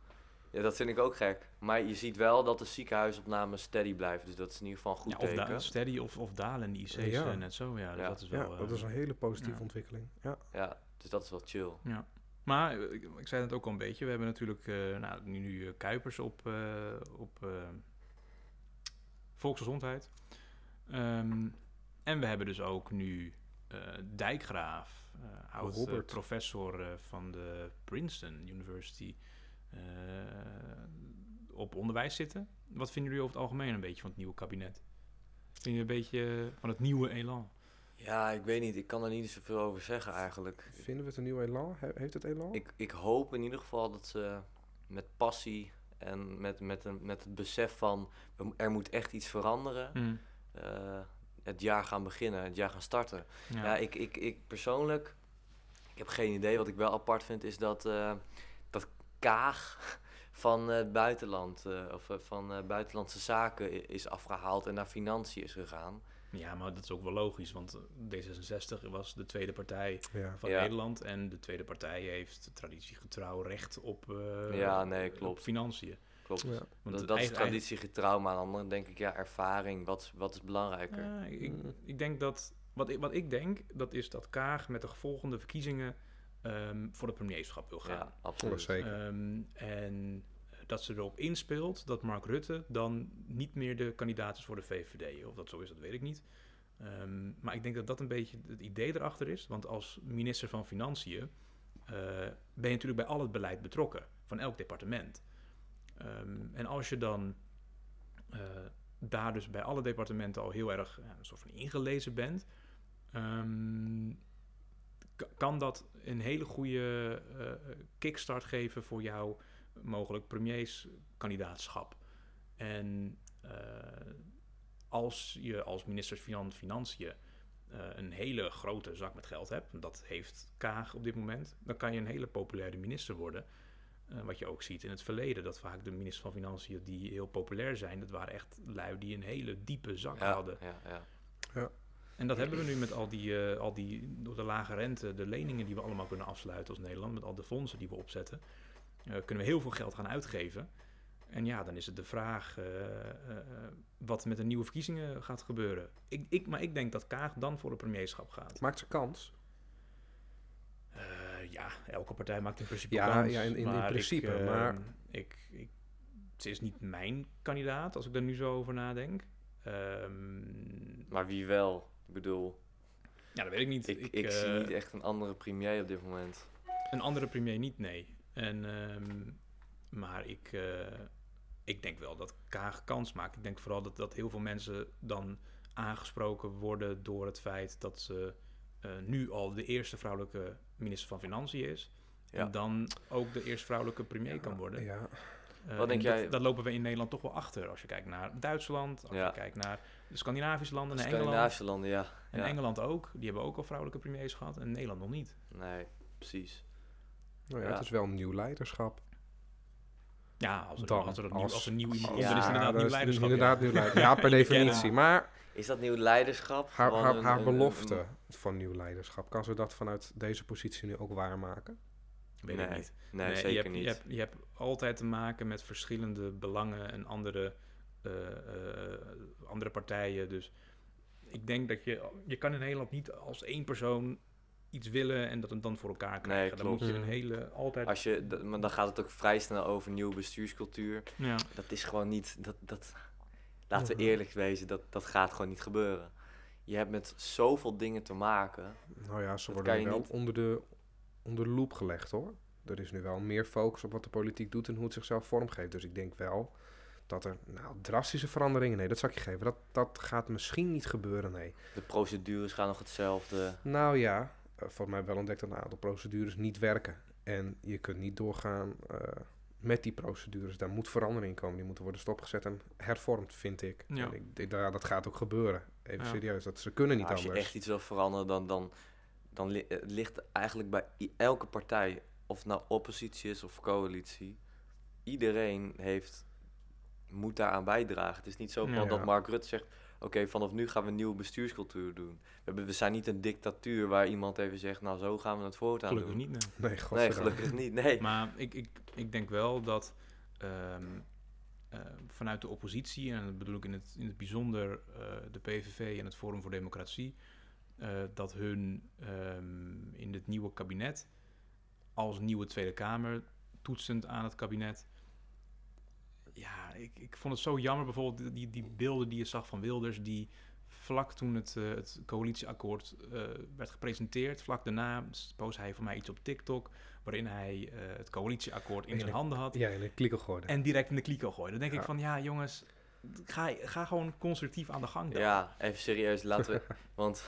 [SPEAKER 2] Ja, dat vind ik ook gek. Maar je ziet wel dat de ziekenhuisopnames steady blijven. Dus dat is in ieder geval een goed
[SPEAKER 1] Ja, of da-
[SPEAKER 2] teken.
[SPEAKER 1] steady of, of dalen in de IC's
[SPEAKER 3] Ja.
[SPEAKER 1] eh, net zo. Ja, dus
[SPEAKER 2] Ja.
[SPEAKER 1] dat is
[SPEAKER 3] Ja,
[SPEAKER 1] wel... eh,
[SPEAKER 3] dat is een hele positieve
[SPEAKER 1] ja.
[SPEAKER 3] ontwikkeling. Ja.
[SPEAKER 2] Ja, dus dat is wel chill.
[SPEAKER 1] Maar eh, ik, ik zei het ook al een beetje. We hebben natuurlijk eh, nou, nu, nu eh, Kuipers op, eh, op eh, volksgezondheid. Ehm, en we hebben dus ook nu eh, Dijkgraaf, eh oud eh,
[SPEAKER 3] Robert.
[SPEAKER 1] professor eh, van de Princeton University, eh, op onderwijs zitten. Wat vinden jullie over het algemeen een beetje van het nieuwe kabinet? Vind je een beetje eh, van het nieuwe elan?
[SPEAKER 2] Ja, ik weet niet. Ik kan er niet zoveel over zeggen eigenlijk.
[SPEAKER 3] Vinden we het een nieuw elan? He- Heeft het elan?
[SPEAKER 2] Ik, ik hoop in ieder geval dat ze met passie en met, met, een, met het besef van we mo- er moet echt iets
[SPEAKER 1] Hm.
[SPEAKER 2] veranderen, eh, het jaar gaan beginnen, het jaar gaan starten. Ja, ik, ik, ik persoonlijk, ik heb geen idee. Wat ik wel apart vind is dat, eh, dat Kaag van eh, het buitenland eh, of eh, van eh, buitenlandse zaken i- is afgehaald en naar financiën is gegaan.
[SPEAKER 1] Ja, maar dat is ook wel logisch, want eh, D66 was de tweede partij
[SPEAKER 3] Ja.
[SPEAKER 1] van
[SPEAKER 2] Ja.
[SPEAKER 1] Nederland en de tweede partij heeft traditiegetrouw recht op, eh,
[SPEAKER 2] Ja, nee,
[SPEAKER 1] op
[SPEAKER 2] klopt.
[SPEAKER 1] financiën.
[SPEAKER 2] Klopt.
[SPEAKER 3] Ja.
[SPEAKER 1] Want
[SPEAKER 2] dat dat is
[SPEAKER 1] eigen- eigen-
[SPEAKER 2] traditiegetrouw, maar aan de andere denk ik, ja, ervaring, wat, is- wat is belangrijker?
[SPEAKER 1] Ja, ik,
[SPEAKER 3] Mm.
[SPEAKER 1] ik denk dat wat ik, wat ik denk, dat is dat Kaag met de volgende verkiezingen ehm, voor het premierschap wil gaan.
[SPEAKER 2] Ja,
[SPEAKER 3] Oh,
[SPEAKER 2] absoluut.
[SPEAKER 3] zeker.
[SPEAKER 1] Ehm, en eh, dat ze erop inspeelt dat Mark Rutte dan niet meer de kandidaat is voor de VVD. Of dat zo is, dat weet ik niet. Ehm, maar ik denk dat dat een beetje het idee erachter is. Want als minister van Financiën eh, ben je natuurlijk bij al het beleid betrokken. Van elk departement. Ehm, en als je dan eh, daar dus bij alle departementen al heel erg ja, een soort van ingelezen bent... ehm, k- kan dat een hele goede eh, kickstart geven voor jouw mogelijk premierskandidaatschap. En eh, als je als minister van Financiën eh, een hele grote zak met geld hebt, en dat heeft Kaag op dit moment, dan kan je een hele populaire minister worden. Eh, wat je ook ziet in het verleden, dat vaak de ministers van Financiën die heel populair zijn, dat waren echt lui die een hele diepe zak
[SPEAKER 2] Ja,
[SPEAKER 1] hadden.
[SPEAKER 2] ja, ja.
[SPEAKER 1] En dat hebben we nu met al die, eh, al die door de lage rente, de leningen die we allemaal kunnen afsluiten als Nederland, met al de fondsen die we opzetten, eh, kunnen we heel veel geld gaan uitgeven. En ja, dan is het de vraag eh, eh, eh, wat met de nieuwe verkiezingen gaat gebeuren. Ik, ik, maar ik denk dat Kaag dan voor het premierschap gaat.
[SPEAKER 3] Maakt ze kans?
[SPEAKER 1] Eh, ja, elke partij maakt in principe
[SPEAKER 3] Ja,
[SPEAKER 1] kans.
[SPEAKER 3] ja, in- in- in
[SPEAKER 1] maar ik,
[SPEAKER 3] principe,
[SPEAKER 1] eh,
[SPEAKER 3] maar-
[SPEAKER 1] Ik, ik, het is niet mijn kandidaat, als ik daar nu zo over nadenk. Ehm,
[SPEAKER 2] Maar wie wel? Ik bedoel,
[SPEAKER 1] ja, dat weet ik niet.
[SPEAKER 2] ik, ik, zie
[SPEAKER 1] eh,
[SPEAKER 2] niet echt een andere premier op dit moment.
[SPEAKER 1] Een andere premier niet, nee. En, ehm, maar ik, eh, ik denk wel dat Kaag kans maakt. Ik denk vooral dat, dat heel veel mensen dan aangesproken worden door het feit dat ze eh, nu al de eerste vrouwelijke minister van Financiën is.
[SPEAKER 2] Ja.
[SPEAKER 1] En dan ook de eerste vrouwelijke premier kan worden.
[SPEAKER 3] Ja.
[SPEAKER 1] Eh,
[SPEAKER 2] Wat denk
[SPEAKER 1] en dat-
[SPEAKER 2] jij-
[SPEAKER 1] Daar lopen we in Nederland toch wel achter. Als je kijkt naar Duitsland, als
[SPEAKER 2] Ja.
[SPEAKER 1] je kijkt naar de Scandinavische landen, naar Engeland.
[SPEAKER 2] Scandinavische landen, ja.
[SPEAKER 1] En
[SPEAKER 2] ja.
[SPEAKER 1] Engeland ook. Die hebben ook al vrouwelijke premiers gehad. En Nederland nog niet.
[SPEAKER 2] Nee, precies.
[SPEAKER 3] Nou ja,
[SPEAKER 2] Ja.
[SPEAKER 3] Het is wel een nieuw leiderschap.
[SPEAKER 1] Ja, als er,
[SPEAKER 3] Dan,
[SPEAKER 1] als er, een nieuw-
[SPEAKER 3] als-
[SPEAKER 1] als er nieuw iemand
[SPEAKER 2] als-
[SPEAKER 1] komt, dan is het
[SPEAKER 2] Ja,
[SPEAKER 1] inderdaad
[SPEAKER 3] dat
[SPEAKER 1] nieuw
[SPEAKER 3] is
[SPEAKER 1] leiderschap. ja.
[SPEAKER 3] Inderdaad nieuw leiderschap. Ja, per definitie. Maar
[SPEAKER 2] Is dat nieuw leiderschap?
[SPEAKER 3] haar,
[SPEAKER 2] Gewoon
[SPEAKER 3] haar,
[SPEAKER 2] een-
[SPEAKER 3] haar
[SPEAKER 2] een- een-
[SPEAKER 3] belofte van nieuw leiderschap, kan ze dat vanuit deze positie nu ook waarmaken?
[SPEAKER 1] Weet ik
[SPEAKER 2] Nee,
[SPEAKER 1] niet.
[SPEAKER 2] Nee,
[SPEAKER 1] Nee,
[SPEAKER 2] zeker
[SPEAKER 1] je hebt,
[SPEAKER 2] niet.
[SPEAKER 1] Je hebt, je hebt altijd te maken met verschillende belangen en andere, eh, eh, andere partijen. Dus ik denk dat je... Je kan in Nederland niet als één persoon iets willen en dat het dan voor elkaar krijgen. Dan
[SPEAKER 2] klopt.
[SPEAKER 1] moet je een
[SPEAKER 3] Mm.
[SPEAKER 1] hele... Altijd...
[SPEAKER 2] Als je, d- maar dan gaat het ook vrij snel over nieuwe bestuurscultuur.
[SPEAKER 1] ja.
[SPEAKER 2] Dat is gewoon niet. Dat, dat, laten
[SPEAKER 1] Mhm.
[SPEAKER 2] we eerlijk wezen, dat, dat gaat gewoon niet gebeuren. Je hebt met zoveel dingen te maken.
[SPEAKER 3] Nou ja, ze
[SPEAKER 2] Dat
[SPEAKER 3] worden
[SPEAKER 2] kan
[SPEAKER 3] nu
[SPEAKER 2] je
[SPEAKER 3] wel
[SPEAKER 2] niet.
[SPEAKER 3] onder de, onder de loep gelegd hoor. Er is nu wel meer focus op wat de politiek doet en hoe het zichzelf vormgeeft. Dus ik denk wel dat er nou, drastische veranderingen... Nee, dat zal ik je geven. Dat, dat gaat misschien niet gebeuren, nee.
[SPEAKER 2] De procedures gaan nog hetzelfde.
[SPEAKER 3] Nou ja, eh, volgens mij wel ontdekt dat een aantal procedures niet werken. En je kunt niet doorgaan eh, met die procedures. Daar moet verandering in komen. Die moeten worden stopgezet en hervormd, vind ik.
[SPEAKER 1] Ja.
[SPEAKER 3] En ik, ik- ja, dat gaat ook gebeuren. Even
[SPEAKER 1] Ja.
[SPEAKER 3] serieus, dat ze kunnen niet
[SPEAKER 2] als je
[SPEAKER 3] anders.
[SPEAKER 2] echt iets wil veranderen, dan, dan, dan li- het ligt eigenlijk bij i- elke partij, of het nou oppositie is of coalitie, iedereen heeft, moet daaraan bijdragen. Het is niet zo van
[SPEAKER 1] Ja.
[SPEAKER 2] dat Mark Rutte zegt, oké, vanaf nu gaan we een nieuwe bestuurscultuur doen. We, hebben, we zijn niet een dictatuur waar iemand even zegt, nou zo gaan we het voortaan
[SPEAKER 1] Gelukkig
[SPEAKER 2] doen.
[SPEAKER 1] niet, nee.
[SPEAKER 3] Nee,
[SPEAKER 2] Nee,
[SPEAKER 3] godverdamme.
[SPEAKER 2] gelukkig niet. Nee.
[SPEAKER 1] Maar ik, ik, ik denk wel dat ehm, eh, vanuit de oppositie, en dat bedoel ik in het, in het bijzonder eh, de PVV en het Forum voor Democratie, eh, dat hun ehm, in het nieuwe kabinet als nieuwe Tweede Kamer toetsend aan het kabinet. Ja, ik, ik vond het zo jammer bijvoorbeeld die, die beelden die je zag van Wilders, die vlak toen het, eh, het coalitieakkoord eh, werd gepresenteerd, vlak daarna post hij voor mij iets op TikTok, waarin hij eh, het coalitieakkoord in
[SPEAKER 3] Nee,
[SPEAKER 1] zijn
[SPEAKER 3] dat-
[SPEAKER 1] handen had
[SPEAKER 3] Ja, in een klikkel gooien.
[SPEAKER 1] en direct in de kliko gooien. Dan denk
[SPEAKER 3] Ja.
[SPEAKER 1] ik van, ja jongens, ga, ga gewoon constructief aan de gang dan.
[SPEAKER 2] Ja, even serieus, laten we. Want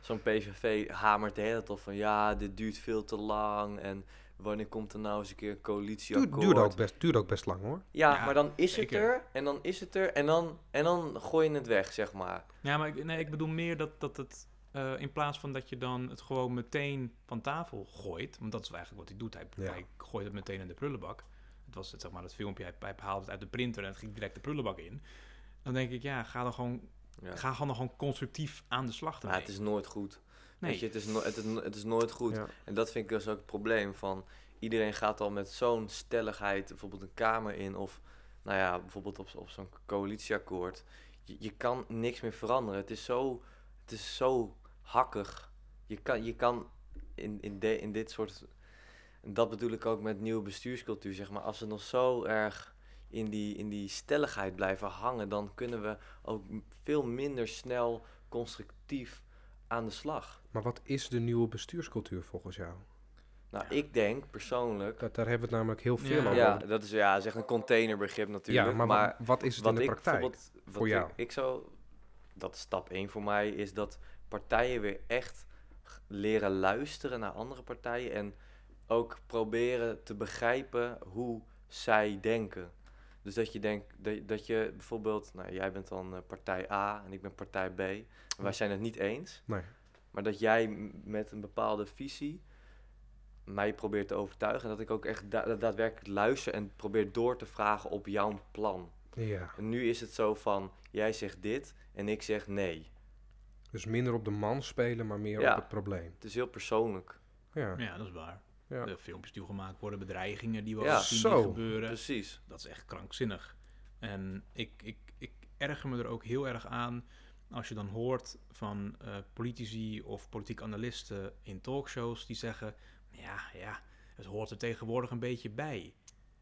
[SPEAKER 2] zo'n PVV hamert de hele tijd op van ja, dit duurt veel te lang. En wanneer komt er nou eens een keer een
[SPEAKER 3] Duurt,
[SPEAKER 2] coalitieakkoord?
[SPEAKER 3] duurt ook best, duurt ook best lang hoor.
[SPEAKER 2] Ja,
[SPEAKER 1] Ja,
[SPEAKER 2] maar dan is
[SPEAKER 1] zeker.
[SPEAKER 2] het er en dan is het er en dan, en dan gooi je het weg, zeg maar.
[SPEAKER 1] Ja, maar ik, nee, ik bedoel meer dat, dat het... eh, in plaats van dat je dan het gewoon meteen van tafel gooit... want dat is eigenlijk wat hij doet. Hij,
[SPEAKER 3] Ja.
[SPEAKER 1] hij gooit het meteen in de prullenbak. Het was het, zeg maar, dat filmpje, hij, hij haalde het uit de printer... en het ging direct de prullenbak in. Dan denk ik, ja, ga dan gewoon,
[SPEAKER 2] Ja.
[SPEAKER 1] ga gewoon, gewoon constructief aan de slag
[SPEAKER 2] Maar
[SPEAKER 1] ermee.
[SPEAKER 2] het is nooit goed.
[SPEAKER 1] nee,
[SPEAKER 2] Weet je, het is, no- het, is no- het is nooit goed.
[SPEAKER 3] Ja.
[SPEAKER 2] En dat vind ik dus ook het probleem van... Iedereen gaat al met zo'n stelligheid bijvoorbeeld een kamer in... of nou ja, bijvoorbeeld op, op zo'n coalitieakkoord. Je, je kan niks meer veranderen. Het is zo, het is zo hakkig. Je kan, je kan in, in, de, in dit soort... En dat bedoel ik ook met nieuwe bestuurscultuur, zeg maar. Als we nog zo erg in die, in die stelligheid blijven hangen... dan kunnen we ook m- veel minder snel constructief aan de slag.
[SPEAKER 3] Maar wat is de nieuwe bestuurscultuur volgens jou?
[SPEAKER 2] Nou, ik denk persoonlijk.
[SPEAKER 3] Dat, daar hebben we het namelijk heel veel
[SPEAKER 1] Ja.
[SPEAKER 3] over.
[SPEAKER 2] Ja, dat is, ja, dat is echt een containerbegrip natuurlijk.
[SPEAKER 3] Ja, maar, wa-
[SPEAKER 2] maar
[SPEAKER 3] wat is het
[SPEAKER 2] wat
[SPEAKER 3] in de
[SPEAKER 2] ik
[SPEAKER 3] praktijk?
[SPEAKER 2] bijvoorbeeld. Wat
[SPEAKER 3] voor jou?
[SPEAKER 2] Ik, ik zou. Dat is stap 1 voor mij is dat partijen weer echt g- leren luisteren naar andere partijen. En ook proberen te begrijpen hoe zij denken. Dus dat je denkt dat, dat je bijvoorbeeld. Nou, jij bent dan eh, partij A en ik ben partij B. En wij zijn het niet eens.
[SPEAKER 3] Nee.
[SPEAKER 2] Maar dat jij m- met een bepaalde visie mij probeert te overtuigen. En dat ik ook echt da- daadwerkelijk luister en probeer door te vragen op jouw plan.
[SPEAKER 3] Ja,
[SPEAKER 2] En nu is het zo van, jij zegt dit en ik zeg nee.
[SPEAKER 3] dus minder op de man spelen, maar meer
[SPEAKER 2] Ja.
[SPEAKER 3] op het probleem.
[SPEAKER 2] Het is heel persoonlijk.
[SPEAKER 3] Ja.
[SPEAKER 1] ja, dat is waar.
[SPEAKER 3] Ja.
[SPEAKER 1] De filmpjes die gemaakt worden, bedreigingen die we
[SPEAKER 2] Ja. Dus
[SPEAKER 1] al zien die
[SPEAKER 3] Zo.
[SPEAKER 1] gebeuren.
[SPEAKER 2] Precies.
[SPEAKER 1] Dat is echt krankzinnig. En ik, ik, ik erger me er ook heel erg aan als je dan hoort van eh, politici of politiek analisten in talkshows die zeggen: Ja, ja, het hoort er tegenwoordig een beetje bij.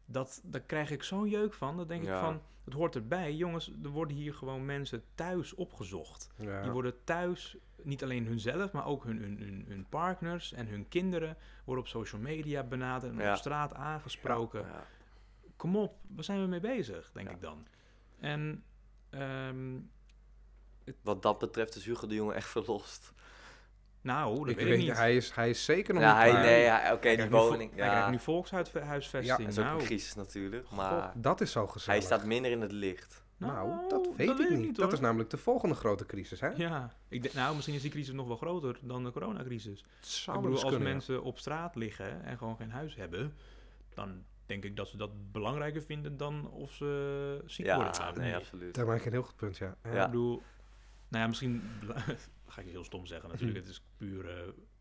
[SPEAKER 1] Dat, daar krijg ik zo'n jeuk van. Dan denk
[SPEAKER 2] Ja.
[SPEAKER 1] ik van, het hoort erbij. Jongens, er worden hier gewoon mensen thuis opgezocht. Die
[SPEAKER 3] Ja.
[SPEAKER 1] worden thuis, niet alleen hunzelf, maar ook hun, hun, hun, hun partners en hun kinderen... worden op social media benaderd en
[SPEAKER 2] Ja.
[SPEAKER 1] op straat aangesproken
[SPEAKER 2] Ja.
[SPEAKER 1] kom op, waar zijn we mee bezig, denk
[SPEAKER 2] Ja.
[SPEAKER 1] ik dan. En ehm,
[SPEAKER 2] Wat dat betreft is Hugo de Jonge echt verlost.
[SPEAKER 1] nou, dat
[SPEAKER 3] Ik
[SPEAKER 1] weet, ik
[SPEAKER 3] weet,
[SPEAKER 1] niet.
[SPEAKER 3] hij, is, hij is zeker nog
[SPEAKER 2] Ja,
[SPEAKER 3] niet
[SPEAKER 2] hij,
[SPEAKER 3] klaar.
[SPEAKER 2] nee, hij- oké,
[SPEAKER 1] Hij
[SPEAKER 2] die
[SPEAKER 1] krijgt nu vo-
[SPEAKER 2] woning.
[SPEAKER 1] Hij
[SPEAKER 2] Ja,
[SPEAKER 1] krijgt nu volkshuisvesting.
[SPEAKER 2] dat is ook
[SPEAKER 1] nou,
[SPEAKER 2] een crisis natuurlijk. Maar
[SPEAKER 3] Dat is zo gezellig.
[SPEAKER 2] Ah. hij staat minder in het licht.
[SPEAKER 3] Nou, dat weet ik niet. Dat
[SPEAKER 1] hoor.
[SPEAKER 3] is namelijk de volgende grote crisis, hè?
[SPEAKER 1] Ja, ik denk, nou, misschien is die crisis nog wel groter dan de coronacrisis.
[SPEAKER 3] Het zou
[SPEAKER 1] ik bedoel,
[SPEAKER 3] wel eens
[SPEAKER 1] als
[SPEAKER 3] kunnen, ja.
[SPEAKER 1] mensen op straat liggen en gewoon geen huis hebben, dan denk ik dat ze dat belangrijker vinden dan of ze ziek worden.
[SPEAKER 2] Ja,
[SPEAKER 1] Nou,
[SPEAKER 2] nee, absoluut.
[SPEAKER 3] Daar maak je een heel goed punt, ja. Ja.
[SPEAKER 1] Ik bedoel, nou ja, misschien ga ik iets heel stom zeggen natuurlijk, het is puur eh,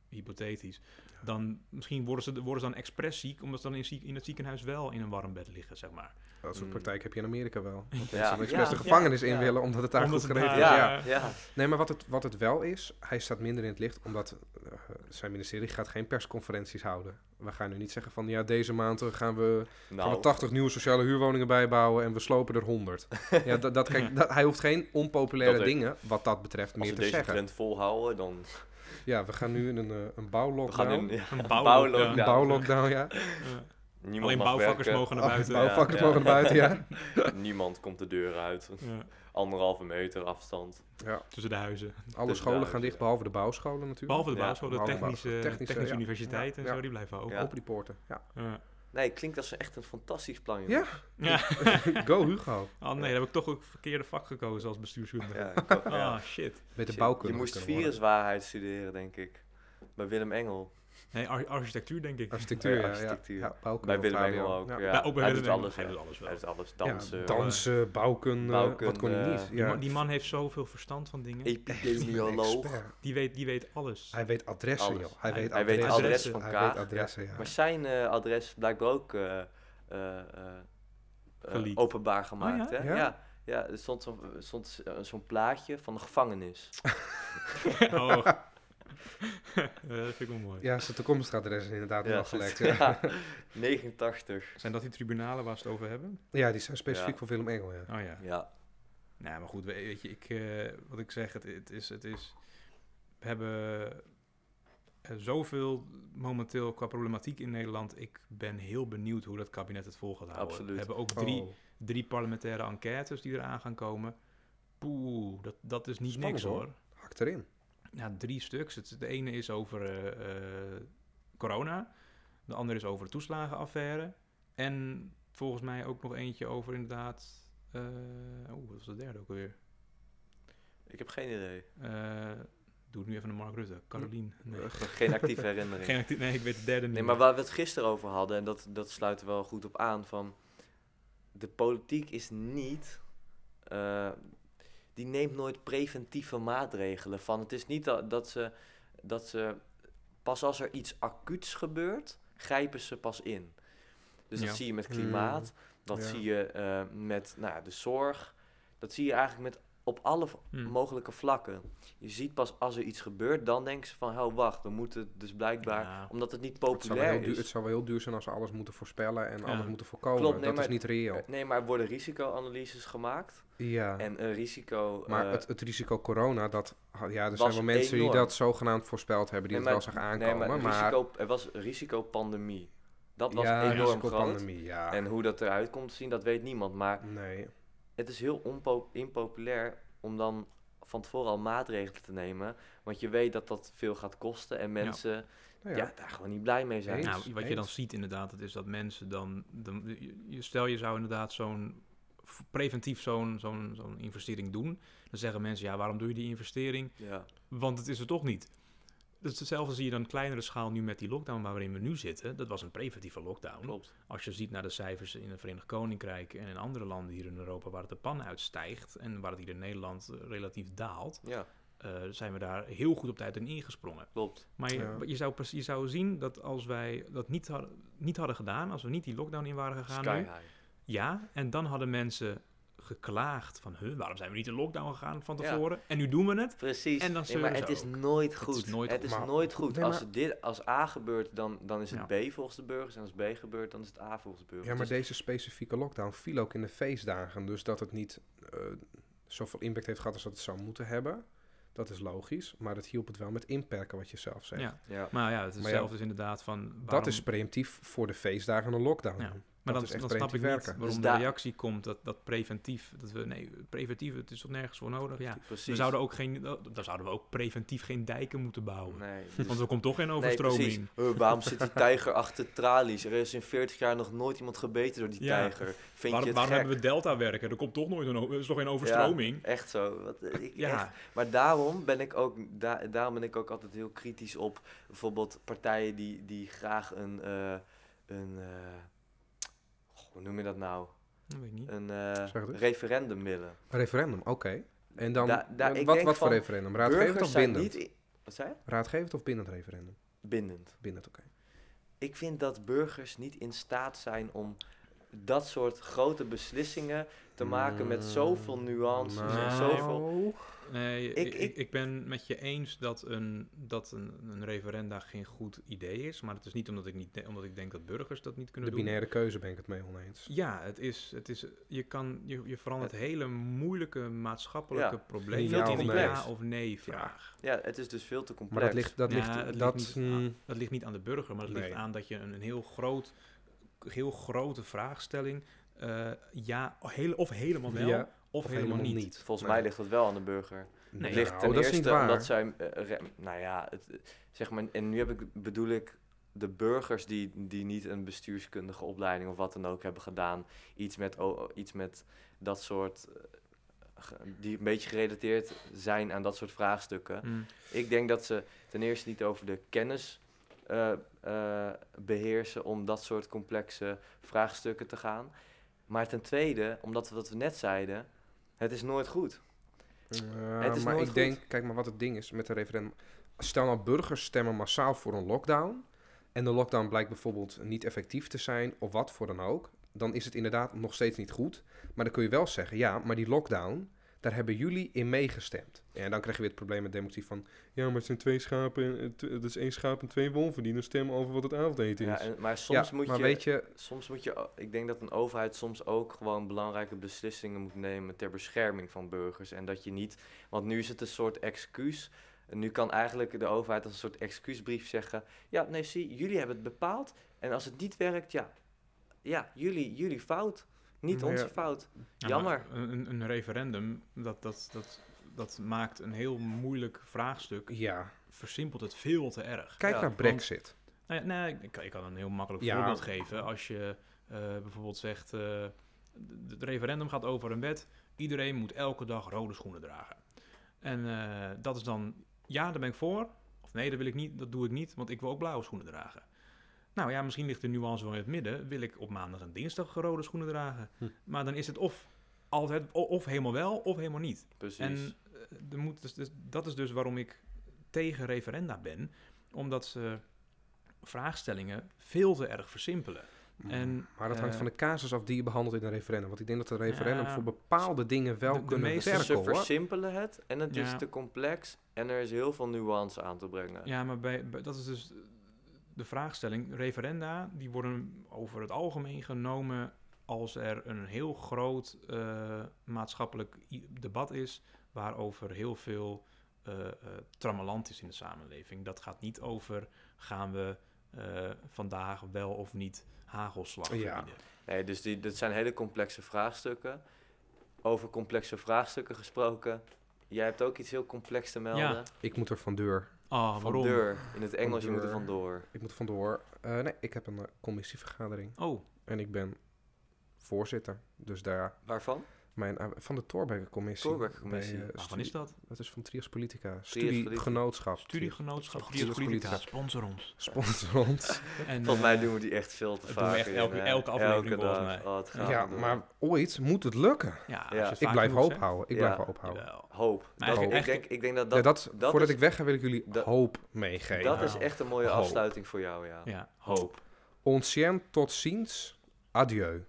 [SPEAKER 1] hypothetisch. Dan misschien worden ze, worden ze dan expres ziek, omdat ze dan in, ziek, in het ziekenhuis wel in een warm bed liggen, zeg maar.
[SPEAKER 3] Dat soort
[SPEAKER 2] Mm.
[SPEAKER 3] praktijk heb je in Amerika wel. Dat
[SPEAKER 2] Ja.
[SPEAKER 3] mensen dan expres
[SPEAKER 2] Ja.
[SPEAKER 3] de gevangenis in
[SPEAKER 2] Ja.
[SPEAKER 3] willen, omdat het daar
[SPEAKER 1] Omdat
[SPEAKER 3] goed
[SPEAKER 1] het
[SPEAKER 3] geregeld is.
[SPEAKER 1] daar-
[SPEAKER 3] Ja.
[SPEAKER 1] Ja.
[SPEAKER 2] ja.
[SPEAKER 3] Nee, maar wat het, wat het wel is, hij staat minder in het licht, omdat eh, zijn ministerie gaat geen persconferenties houden. We gaan nu niet zeggen van, ja, deze maand eh, gaan we, gaan we
[SPEAKER 2] Nou,
[SPEAKER 3] 80 nieuwe sociale huurwoningen bijbouwen en we slopen er 100. ja, dat, dat, kijk, dat, hij hoeft geen onpopulaire
[SPEAKER 2] Dat ik-
[SPEAKER 3] dingen, wat dat betreft,
[SPEAKER 2] als
[SPEAKER 3] meer
[SPEAKER 2] we
[SPEAKER 3] te
[SPEAKER 2] deze
[SPEAKER 3] zeggen.
[SPEAKER 2] trend volhouden, dan
[SPEAKER 3] Ja, we gaan nu in een, eh, een
[SPEAKER 2] we gaan
[SPEAKER 3] bouwlockdown.
[SPEAKER 2] nu... ja,
[SPEAKER 1] Een
[SPEAKER 2] bouwlockdown.
[SPEAKER 3] Een bouwlockdown, ja.
[SPEAKER 1] Ja.
[SPEAKER 2] niemand
[SPEAKER 1] Alleen
[SPEAKER 2] mag
[SPEAKER 1] bouwvakkers
[SPEAKER 2] werken,
[SPEAKER 1] mogen naar buiten.
[SPEAKER 2] bouw-
[SPEAKER 3] Bouwvakkers
[SPEAKER 2] ja.
[SPEAKER 3] mogen naar buiten, ja.
[SPEAKER 2] Niemand komt de deur uit.
[SPEAKER 1] Ja,
[SPEAKER 2] Anderhalve meter afstand.
[SPEAKER 3] ja.
[SPEAKER 1] tussen de huizen.
[SPEAKER 3] Alle
[SPEAKER 2] Dus
[SPEAKER 3] scholen
[SPEAKER 2] daar
[SPEAKER 3] gaan
[SPEAKER 2] is-
[SPEAKER 3] dicht, behalve de bouwscholen natuurlijk.
[SPEAKER 1] Behalve de
[SPEAKER 2] Ja,
[SPEAKER 1] basisschool, de
[SPEAKER 3] behalve de
[SPEAKER 1] technische,
[SPEAKER 3] technische,
[SPEAKER 1] technische,
[SPEAKER 3] ja.
[SPEAKER 1] universiteit
[SPEAKER 3] Ja,
[SPEAKER 1] en
[SPEAKER 3] ja.
[SPEAKER 1] zo, die blijven open.
[SPEAKER 2] Ja.
[SPEAKER 3] Open die poorten, ja.
[SPEAKER 1] Ja.
[SPEAKER 2] Nee, klinkt als een- echt een fantastisch plan. jongen.
[SPEAKER 3] Ja.
[SPEAKER 1] Ja.
[SPEAKER 3] Go Hugo.
[SPEAKER 1] Oh nee, dan heb ik toch ook het verkeerde vak gekozen als bestuurskunde.
[SPEAKER 2] Ja, ik hoop- ja.
[SPEAKER 1] Ah, shit.
[SPEAKER 3] Met de
[SPEAKER 2] Shit,
[SPEAKER 3] bouwkunde.
[SPEAKER 2] Je moest
[SPEAKER 3] kunnen worden.
[SPEAKER 2] viruswaarheid studeren, denk ik. Bij Willem Engel.
[SPEAKER 1] Nee, ar- architectuur denk ik.
[SPEAKER 3] Architectuur,
[SPEAKER 2] Ja,
[SPEAKER 3] ja. ja.
[SPEAKER 2] architectuur.
[SPEAKER 3] ja bouwkunde
[SPEAKER 2] Bij
[SPEAKER 3] op
[SPEAKER 2] Willem
[SPEAKER 3] HBO.
[SPEAKER 2] Engel ook. Ja.
[SPEAKER 1] Ja, ook bij
[SPEAKER 2] hij
[SPEAKER 1] Willem
[SPEAKER 2] doet
[SPEAKER 1] Engel.
[SPEAKER 2] alles.
[SPEAKER 1] Hij
[SPEAKER 2] ja.
[SPEAKER 1] doet alles wel.
[SPEAKER 2] Hij doet alles.
[SPEAKER 3] Ja,
[SPEAKER 2] Dansen.
[SPEAKER 3] dansen, bouwkunde, Wat kon hij
[SPEAKER 2] Bouwkunde,
[SPEAKER 3] niet?
[SPEAKER 1] Die,
[SPEAKER 3] Ja.
[SPEAKER 1] man, die man heeft zoveel verstand van dingen.
[SPEAKER 2] Epidemioloog.
[SPEAKER 3] Expert.
[SPEAKER 1] Die weet, die weet alles.
[SPEAKER 3] Hij weet adressen,
[SPEAKER 2] Alles.
[SPEAKER 3] joh. Hij
[SPEAKER 1] Hij-
[SPEAKER 3] weet
[SPEAKER 2] hij weet
[SPEAKER 3] adressen.
[SPEAKER 1] adres
[SPEAKER 2] van
[SPEAKER 3] Hij
[SPEAKER 2] elkaar.
[SPEAKER 3] weet adressen, ja.
[SPEAKER 2] Maar zijn eh, adres blijkbaar ook eh, eh, eh, eh,
[SPEAKER 1] Geleakt.
[SPEAKER 2] openbaar gemaakt,
[SPEAKER 1] Oh ja?
[SPEAKER 2] hè?
[SPEAKER 3] Ja?
[SPEAKER 2] Ja. ja. er stond zo'n stond, eh, zo'n plaatje van de gevangenis.
[SPEAKER 1] oh. Eh, dat vind ik wel mooi.
[SPEAKER 3] Ja, zijn toekomstadres is inderdaad wel gelijk.
[SPEAKER 2] zit-
[SPEAKER 3] Ja.
[SPEAKER 2] ja, 89.
[SPEAKER 1] Zijn dat die tribunalen waar ze het over hebben?
[SPEAKER 3] ja, die zijn specifiek
[SPEAKER 2] Ja.
[SPEAKER 3] voor Willem Engel, ja.
[SPEAKER 1] Oh ja.
[SPEAKER 2] Ja,
[SPEAKER 1] Nou, maar goed, we- weet je, ik, eh, wat ik zeg, het, het, is, het is... We hebben eh, zoveel momenteel qua problematiek in Nederland. Ik ben heel benieuwd hoe dat kabinet het vol gaat houden.
[SPEAKER 2] Absoluut.
[SPEAKER 1] We hebben ook drie,
[SPEAKER 3] Oh.
[SPEAKER 1] drie parlementaire enquêtes die eraan gaan komen. Poeh, dat, dat is niet
[SPEAKER 3] Spannend,
[SPEAKER 1] niks
[SPEAKER 3] hoor.
[SPEAKER 1] hoor.
[SPEAKER 3] Hak erin.
[SPEAKER 1] Ja, drie stuks. Het, de ene is over eh, eh, corona. De andere is over de toeslagenaffaire. En volgens mij ook nog eentje over inderdaad... eh Oeh, wat was de derde ook alweer?
[SPEAKER 2] ik heb geen idee.
[SPEAKER 1] Eh, doe het nu even naar Mark Rutte. Carolien. Nee,
[SPEAKER 2] Ik heb Geen actieve herinnering.
[SPEAKER 1] Geen actie- nee ik weet de derde niet.
[SPEAKER 2] Nee, maar
[SPEAKER 1] meer.
[SPEAKER 2] waar we het gisteren over hadden, en dat, dat sluit er wel goed op aan, van de politiek is niet, eh, die neemt nooit preventieve maatregelen van. Het is niet dat, dat, ze, dat ze, pas als er iets acuuts gebeurt, grijpen ze pas in. Dus
[SPEAKER 1] Ja.
[SPEAKER 2] dat zie je met
[SPEAKER 3] Hmm,
[SPEAKER 2] klimaat, dat
[SPEAKER 3] ja.
[SPEAKER 2] zie je eh, met nou, ja, de zorg, dat zie je eigenlijk met, op alle v-
[SPEAKER 1] Hmm.
[SPEAKER 2] mogelijke vlakken. Je ziet pas als er iets gebeurt, dan denken ze van, oh wacht, we moeten het dus blijkbaar
[SPEAKER 1] Ja.
[SPEAKER 2] omdat het niet
[SPEAKER 3] Het zou, wel heel
[SPEAKER 2] populair
[SPEAKER 3] duur, het
[SPEAKER 2] is.
[SPEAKER 3] zou wel heel duur zijn als ze alles moeten voorspellen en
[SPEAKER 1] Ja.
[SPEAKER 3] alles moeten voorkomen.
[SPEAKER 2] Klopt, nee,
[SPEAKER 3] dat is
[SPEAKER 2] maar-
[SPEAKER 3] niet reëel.
[SPEAKER 2] Nee, maar er worden risicoanalyses gemaakt.
[SPEAKER 3] Ja.
[SPEAKER 2] Eh, En een risico...
[SPEAKER 3] Maar
[SPEAKER 2] eh,
[SPEAKER 3] het, het risico corona, dat, ha- ja, er
[SPEAKER 2] was
[SPEAKER 3] zijn wel mensen die
[SPEAKER 2] enorm.
[SPEAKER 3] dat zogenaamd voorspeld hebben, die
[SPEAKER 2] nee,
[SPEAKER 3] het wel zag aankomen.
[SPEAKER 2] nee, maar,
[SPEAKER 3] maar
[SPEAKER 2] Risico, er was risicopandemie. Dat was
[SPEAKER 3] ja,
[SPEAKER 2] enorm groot.
[SPEAKER 3] risicopandemie, ja.
[SPEAKER 2] En hoe dat eruit komt te zien, dat weet niemand. Maar
[SPEAKER 3] nee.
[SPEAKER 2] het is heel onpo- impopulair om dan van tevoren al maatregelen te nemen. Want je weet dat dat veel gaat kosten. En mensen
[SPEAKER 3] Nou
[SPEAKER 2] ja.
[SPEAKER 3] ja.
[SPEAKER 2] daar gewoon niet blij mee zijn.
[SPEAKER 3] Eens.
[SPEAKER 1] Nou, wat je dan
[SPEAKER 3] eens.
[SPEAKER 1] ziet inderdaad, dat is dat mensen dan... dan je- je- stel, je zou inderdaad zo'n v- preventief zo'n zo'n zo'n investering doen. Dan zeggen mensen, ja, waarom doe je die investering?
[SPEAKER 2] Ja.
[SPEAKER 1] Want het is er toch niet. Dus hetzelfde zie je dan kleinere schaal nu met die lockdown waarin we nu zitten. Dat was een preventieve lockdown.
[SPEAKER 2] Klopt.
[SPEAKER 1] Als je ziet naar de cijfers in het Verenigd Koninkrijk en in andere landen hier in Europa waar het de pan uitstijgt en waar het hier in Nederland eh, relatief daalt,
[SPEAKER 2] Ja,
[SPEAKER 1] eh, zijn we daar heel goed op tijd in ingesprongen.
[SPEAKER 2] klopt.
[SPEAKER 1] Maar je,
[SPEAKER 3] Ja.
[SPEAKER 1] je, zou, precies- je zou zien dat als wij dat niet, hadden- niet hadden gedaan, als we niet die lockdown in waren gegaan,
[SPEAKER 2] Sky
[SPEAKER 1] nu,
[SPEAKER 2] high.
[SPEAKER 1] ja, en dan hadden mensen geklaagd van, huh, waarom zijn we niet in lockdown gegaan van
[SPEAKER 2] Ja.
[SPEAKER 1] tevoren? En nu doen we het.
[SPEAKER 2] Precies.
[SPEAKER 1] En dan
[SPEAKER 2] nee, maar
[SPEAKER 1] zeuren
[SPEAKER 2] het
[SPEAKER 1] ze
[SPEAKER 2] is
[SPEAKER 1] ook.
[SPEAKER 2] nooit goed. Het is nooit,
[SPEAKER 3] maar-
[SPEAKER 2] goed.
[SPEAKER 3] Nee,
[SPEAKER 2] als,
[SPEAKER 3] maar-
[SPEAKER 2] het dit, als A gebeurt, dan, dan is het B volgens de burgers. En als B gebeurt, dan is het A volgens de burgers.
[SPEAKER 3] Ja, maar
[SPEAKER 2] Dus-
[SPEAKER 3] deze specifieke lockdown viel ook in de feestdagen. Dus dat het niet eh, zoveel impact heeft gehad als dat het zou moeten hebben, dat is logisch. Maar het hielp het wel met inperken, wat je zelf zegt.
[SPEAKER 1] Ja.
[SPEAKER 2] ja.
[SPEAKER 1] Maar ja, het is
[SPEAKER 3] Maar ja,
[SPEAKER 1] hetzelfde is inderdaad van...
[SPEAKER 3] Dat
[SPEAKER 1] waarom-
[SPEAKER 3] is preemptief voor de feestdagen een lockdown.
[SPEAKER 1] Ja.
[SPEAKER 3] dat
[SPEAKER 1] Maar dan,
[SPEAKER 3] is echt
[SPEAKER 1] dan snap ik
[SPEAKER 3] preventief
[SPEAKER 1] niet
[SPEAKER 3] werken.
[SPEAKER 1] waarom
[SPEAKER 2] Dus
[SPEAKER 1] de
[SPEAKER 2] daar-
[SPEAKER 1] reactie komt dat, dat preventief... Dat we, nee, preventief, het is toch nergens voor nodig? Ja,
[SPEAKER 2] precies.
[SPEAKER 1] we zouden ook geen, dan zouden we ook preventief geen dijken moeten bouwen.
[SPEAKER 2] Nee, dus-
[SPEAKER 1] Want er komt toch geen
[SPEAKER 2] Nee,
[SPEAKER 1] overstroming.
[SPEAKER 2] precies. Eh, waarom zit die tijger achter tralies? Er is in 40 jaar nog nooit iemand gebeten door die
[SPEAKER 1] Ja.
[SPEAKER 2] tijger. Vind
[SPEAKER 1] waarom
[SPEAKER 2] je het
[SPEAKER 1] waarom
[SPEAKER 2] gek?
[SPEAKER 1] hebben we delta werken? Er komt toch nooit een, o- er is toch geen overstroming?
[SPEAKER 2] Echt zo. Wat, eh, ik,
[SPEAKER 1] Ja,
[SPEAKER 2] echt. Maar daarom ben ik ook, da- daarom ben ik ook altijd heel kritisch op bijvoorbeeld partijen die, die graag een, eh, een eh, goh, hoe noem je dat nou?
[SPEAKER 1] dat weet ik niet.
[SPEAKER 2] Een eh,
[SPEAKER 3] Zeg het eens.
[SPEAKER 2] referendum willen.
[SPEAKER 3] Referendum, oké. En dan,
[SPEAKER 2] Da- da-
[SPEAKER 3] wat-
[SPEAKER 2] ik
[SPEAKER 3] wat,
[SPEAKER 2] denk
[SPEAKER 3] voor
[SPEAKER 2] van,
[SPEAKER 3] referendum? Raadgevend
[SPEAKER 2] Burgers
[SPEAKER 3] of
[SPEAKER 2] zijn
[SPEAKER 3] bindend?
[SPEAKER 2] niet i- wat zei je?
[SPEAKER 3] Raadgevend of bindend referendum?
[SPEAKER 2] Bindend.
[SPEAKER 3] Bindend, oké.
[SPEAKER 2] Ik vind dat burgers niet in staat zijn om dat soort grote beslissingen te maken
[SPEAKER 3] Mm,
[SPEAKER 2] met zoveel nuances
[SPEAKER 1] Mm. nou.
[SPEAKER 2] en zoveel...
[SPEAKER 3] Nou.
[SPEAKER 1] Nee,
[SPEAKER 2] Ik-
[SPEAKER 1] ik,
[SPEAKER 2] ik-
[SPEAKER 1] ik, ik ben met je eens dat een, dat een, een referenda geen goed idee is. Maar het is niet omdat ik, niet, de- omdat ik denk dat burgers dat niet
[SPEAKER 3] De
[SPEAKER 1] kunnen doen.
[SPEAKER 3] binaire keuze ben ik het mee oneens.
[SPEAKER 1] Ja, het is, het is, je, kan, je, je verandert hele moeilijke maatschappelijke
[SPEAKER 2] Ja,
[SPEAKER 1] problemen
[SPEAKER 3] veel te
[SPEAKER 1] in een
[SPEAKER 2] complex.
[SPEAKER 1] ja of nee vraag.
[SPEAKER 2] Ja, het is dus veel te complex.
[SPEAKER 3] Maar dat ligt, dat
[SPEAKER 1] Ja,
[SPEAKER 3] ligt,
[SPEAKER 1] het ligt
[SPEAKER 3] dat,
[SPEAKER 1] niet
[SPEAKER 3] mm,
[SPEAKER 1] aan- Dat ligt niet aan de burger, maar het
[SPEAKER 3] Nee.
[SPEAKER 1] ligt aan dat je een, een heel, groot, heel grote vraagstelling, eh, ja, heel, of helemaal wel,
[SPEAKER 3] ja,
[SPEAKER 1] of, helemaal, niet.
[SPEAKER 2] Volgens
[SPEAKER 3] Nee.
[SPEAKER 2] mij ligt dat wel aan de burger.
[SPEAKER 1] Nee.
[SPEAKER 2] Het ligt
[SPEAKER 3] Nou,
[SPEAKER 2] ten
[SPEAKER 3] dat is
[SPEAKER 2] eerste
[SPEAKER 3] niet waar.
[SPEAKER 2] omdat zij... eh, re- nou ja, het, eh, zeg maar, en nu heb ik, bedoel ik de burgers die, die niet een bestuurskundige opleiding of wat dan ook hebben gedaan, iets met, o- iets met dat soort. eh, ge- die een beetje gerelateerd zijn aan dat soort vraagstukken.
[SPEAKER 1] Mm.
[SPEAKER 2] Ik denk dat ze ten eerste niet over de kennis eh, eh, beheersen om dat soort complexe vraagstukken te gaan. Maar ten tweede, omdat we wat we net zeiden, het is nooit goed.
[SPEAKER 3] Ja,
[SPEAKER 2] Het is
[SPEAKER 3] Eh, maar
[SPEAKER 2] nooit
[SPEAKER 3] ik
[SPEAKER 2] goed.
[SPEAKER 3] denk, kijk maar wat het ding is met de referendum. Stel nou, burgers stemmen massaal voor een lockdown. En de lockdown blijkt bijvoorbeeld niet effectief te zijn, of wat voor dan ook. Dan is het inderdaad nog steeds niet goed. Maar dan kun je wel zeggen, ja, maar die lockdown, daar hebben jullie in meegestemd. En dan krijg je weer het probleem met democratie van... Ja, maar het zijn twee schapen, en, eh, tw- dat is één schaap en twee wolven die dan stemmen over wat het avondeten is.
[SPEAKER 2] Ja, en- maar soms
[SPEAKER 3] Ja,
[SPEAKER 2] moet
[SPEAKER 3] maar
[SPEAKER 2] je.
[SPEAKER 3] weet je,
[SPEAKER 2] Soms moet je, ik denk dat een overheid soms ook gewoon belangrijke beslissingen moet nemen ter bescherming van burgers. En dat je niet, want nu is het een soort excuus. En nu kan eigenlijk de overheid als een soort excuusbrief zeggen: Ja, nee, zie, jullie hebben het bepaald. En als het niet werkt, ja, ja jullie, jullie fout. Niet
[SPEAKER 3] Ja.
[SPEAKER 2] onze fout.
[SPEAKER 1] Ja,
[SPEAKER 2] Jammer.
[SPEAKER 1] maar Een, een referendum, dat, dat, dat, dat maakt een heel moeilijk vraagstuk.
[SPEAKER 3] ja,
[SPEAKER 1] Versimpelt het veel te erg.
[SPEAKER 3] kijk
[SPEAKER 2] Ja,
[SPEAKER 3] naar
[SPEAKER 2] want-
[SPEAKER 3] brexit.
[SPEAKER 1] Nou ja, nee, ik, kan- ik kan een heel makkelijk
[SPEAKER 3] Ja.
[SPEAKER 1] voorbeeld geven. Als je eh, bijvoorbeeld zegt, eh, d- het referendum gaat over een wet. Iedereen moet elke dag rode schoenen dragen. En eh, dat is dan, ja, daar ben ik voor. Of nee, dat wil ik niet, dat doe ik niet, want ik wil ook blauwe schoenen dragen. Nou ja, misschien ligt de nuance wel in het midden. Wil ik op maandag en dinsdag rode schoenen dragen?
[SPEAKER 3] Hm.
[SPEAKER 1] Maar dan is het of, altijd, o- of helemaal wel, of helemaal niet.
[SPEAKER 2] Precies.
[SPEAKER 1] En eh, er moet dus, dus- dat is dus waarom ik tegen referenda ben, omdat ze vraagstellingen veel te erg versimpelen. En,
[SPEAKER 3] maar dat hangt
[SPEAKER 1] eh,
[SPEAKER 3] van de casus af die je behandelt in een referendum. Want ik denk dat een referendum
[SPEAKER 1] Ja.
[SPEAKER 3] voor bepaalde dingen wel
[SPEAKER 1] De- de
[SPEAKER 3] kunnen
[SPEAKER 1] meeste-
[SPEAKER 3] werken,
[SPEAKER 2] Dus ze
[SPEAKER 3] hoor.
[SPEAKER 2] versimpelen het en het is
[SPEAKER 1] Ja.
[SPEAKER 2] te complex en er is heel veel nuance aan te brengen.
[SPEAKER 1] Ja, maar bij, bij- dat is dus eh, de vraagstelling. Referenda, die worden over het algemeen genomen als er een heel groot eh, maatschappelijk i- debat is, waarover heel veel eh eh, trammelant is in de samenleving. Dat gaat niet over gaan we eh, vandaag wel of niet hagelslag
[SPEAKER 3] Ja.
[SPEAKER 1] verbieden.
[SPEAKER 2] Nee, dus die, dat zijn hele complexe vraagstukken. Over complexe vraagstukken gesproken. Jij hebt ook iets heel complex te melden.
[SPEAKER 1] Ja,
[SPEAKER 3] Ik moet er van deur.
[SPEAKER 1] Ah,
[SPEAKER 2] van
[SPEAKER 1] waarom?
[SPEAKER 2] deur. In het Engels, je moet er
[SPEAKER 3] deur.
[SPEAKER 2] vandoor.
[SPEAKER 3] Ik moet vandoor. Eh nee, ik heb een eh, commissievergadering.
[SPEAKER 1] Oh,
[SPEAKER 3] En ik ben voorzitter. Dus daar...
[SPEAKER 2] Waarvan?
[SPEAKER 3] Mijn, eh, van de Thorbecke-commissie.
[SPEAKER 2] Thorbecke-commissie.
[SPEAKER 3] Bij, eh,
[SPEAKER 1] waarvan
[SPEAKER 3] studie-
[SPEAKER 1] Ah, is dat?
[SPEAKER 3] Dat is van Trias Politica.
[SPEAKER 2] Politica.
[SPEAKER 3] Studiegenootschap.
[SPEAKER 1] Studiegenootschap,
[SPEAKER 3] Studios Politica.
[SPEAKER 1] Politica. Sponsor ons.
[SPEAKER 3] Sponsor ons.
[SPEAKER 1] En,
[SPEAKER 2] Volgens mij
[SPEAKER 1] eh,
[SPEAKER 2] doen we die echt veel te
[SPEAKER 1] dat
[SPEAKER 2] vaak.
[SPEAKER 1] doen we echt
[SPEAKER 2] in,
[SPEAKER 1] elke-
[SPEAKER 2] eh,
[SPEAKER 1] elke aflevering
[SPEAKER 2] elke
[SPEAKER 1] volgens
[SPEAKER 2] dag.
[SPEAKER 1] mij.
[SPEAKER 2] Oh, het gaat
[SPEAKER 3] ja,
[SPEAKER 2] maar door.
[SPEAKER 3] maar ooit moet het lukken.
[SPEAKER 1] ja, als
[SPEAKER 2] ja.
[SPEAKER 1] je het
[SPEAKER 3] Ik
[SPEAKER 1] vaak
[SPEAKER 3] blijf
[SPEAKER 1] genoeg
[SPEAKER 3] hoop
[SPEAKER 1] zegt,
[SPEAKER 3] houden. Ik
[SPEAKER 2] Ja.
[SPEAKER 3] blijf hoop houden.
[SPEAKER 1] jawel.
[SPEAKER 2] Hoop.
[SPEAKER 1] Maar
[SPEAKER 2] Dat,
[SPEAKER 1] eigenlijk-
[SPEAKER 2] ik, denk, ik denk dat dat,
[SPEAKER 3] Ja, dat,
[SPEAKER 2] dat
[SPEAKER 3] voordat
[SPEAKER 2] is-
[SPEAKER 3] ik wegga wil ik jullie
[SPEAKER 2] dat-
[SPEAKER 3] hoop meegeven.
[SPEAKER 2] dat is
[SPEAKER 1] Ja.
[SPEAKER 2] echt een mooie
[SPEAKER 3] Hoop.
[SPEAKER 2] afsluiting voor jou, ja.
[SPEAKER 1] Ja, hoop.
[SPEAKER 3] Ontien tot ziens. Adieu.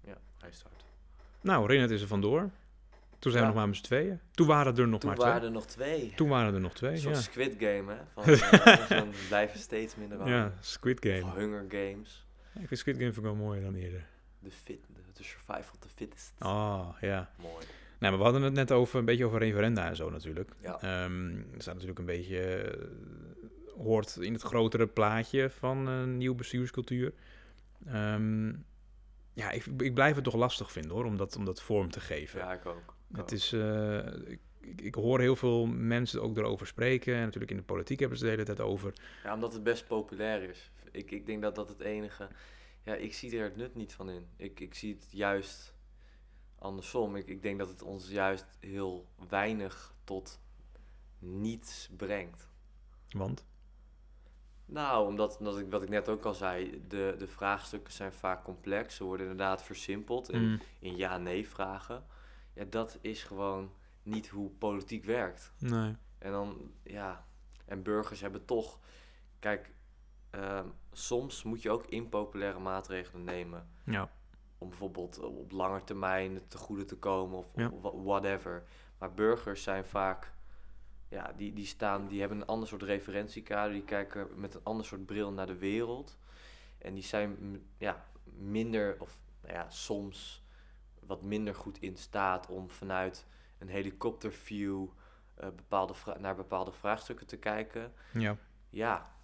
[SPEAKER 2] Ja, hij start.
[SPEAKER 1] Nou, Renat is er vandoor. Toen zijn we nog
[SPEAKER 2] Ja.
[SPEAKER 1] maar met z'n tweeën. Toen waren er nog
[SPEAKER 2] Toen
[SPEAKER 1] maar
[SPEAKER 2] waren
[SPEAKER 1] twee.
[SPEAKER 2] er nog twee.
[SPEAKER 1] Toen waren er nog twee,
[SPEAKER 2] Een soort
[SPEAKER 1] ja.
[SPEAKER 2] Squid Game, hè? Van, eh, zo'n blijven steeds minder aan.
[SPEAKER 1] Ja, Squid
[SPEAKER 2] Of
[SPEAKER 1] Game.
[SPEAKER 2] Hunger Games.
[SPEAKER 1] Ik vind Squid Game vind ik wel mooier dan eerder.
[SPEAKER 2] De fit, de, de survival of the fittest.
[SPEAKER 1] Oh, ja.
[SPEAKER 2] Mooi.
[SPEAKER 1] Nou, maar we hadden het net over een beetje over referenda en zo natuurlijk.
[SPEAKER 2] Ja.
[SPEAKER 1] Ehm, er staat natuurlijk een beetje, eh, hoort in het grotere plaatje van een nieuwe bestuurscultuur. Ehm, ja, ik, ik blijf het toch lastig vinden hoor, om dat, om dat vorm te geven.
[SPEAKER 2] Ja, ik ook. Ik ook.
[SPEAKER 1] Het is, eh, ik, ik- ik hoor heel veel mensen ook erover spreken. En natuurlijk in de politiek hebben ze het de hele tijd over.
[SPEAKER 2] Ja, omdat het best populair is. Ik, ik denk dat dat het enige... Ja, ik zie er het nut niet van in. Ik, ik zie het juist andersom. Ik, ik denk dat het ons juist heel weinig tot niets brengt.
[SPEAKER 1] Want,
[SPEAKER 2] Nou, omdat, omdat ik, wat ik net ook al zei, de, de vraagstukken zijn vaak complex. Ze worden inderdaad versimpeld in,
[SPEAKER 1] mm,
[SPEAKER 2] in ja-nee vragen. Ja, dat is gewoon niet hoe politiek werkt.
[SPEAKER 1] nee.
[SPEAKER 2] En dan, ja, en burgers hebben toch. Kijk, ehm, soms moet je ook impopulaire maatregelen nemen.
[SPEAKER 1] Ja,
[SPEAKER 2] Om bijvoorbeeld eh, op lange termijn te goede te komen of
[SPEAKER 1] Ja.
[SPEAKER 2] wa- whatever. Maar burgers zijn vaak. Ja, die, die staan, die hebben een ander soort referentiekader. Die kijken met een ander soort bril naar de wereld. En die zijn mm, ja, minder, of nou ja, soms wat minder goed in staat om vanuit een helikopterview eh, bepaalde vra- naar bepaalde vraagstukken te kijken.
[SPEAKER 1] ja.
[SPEAKER 2] Ja.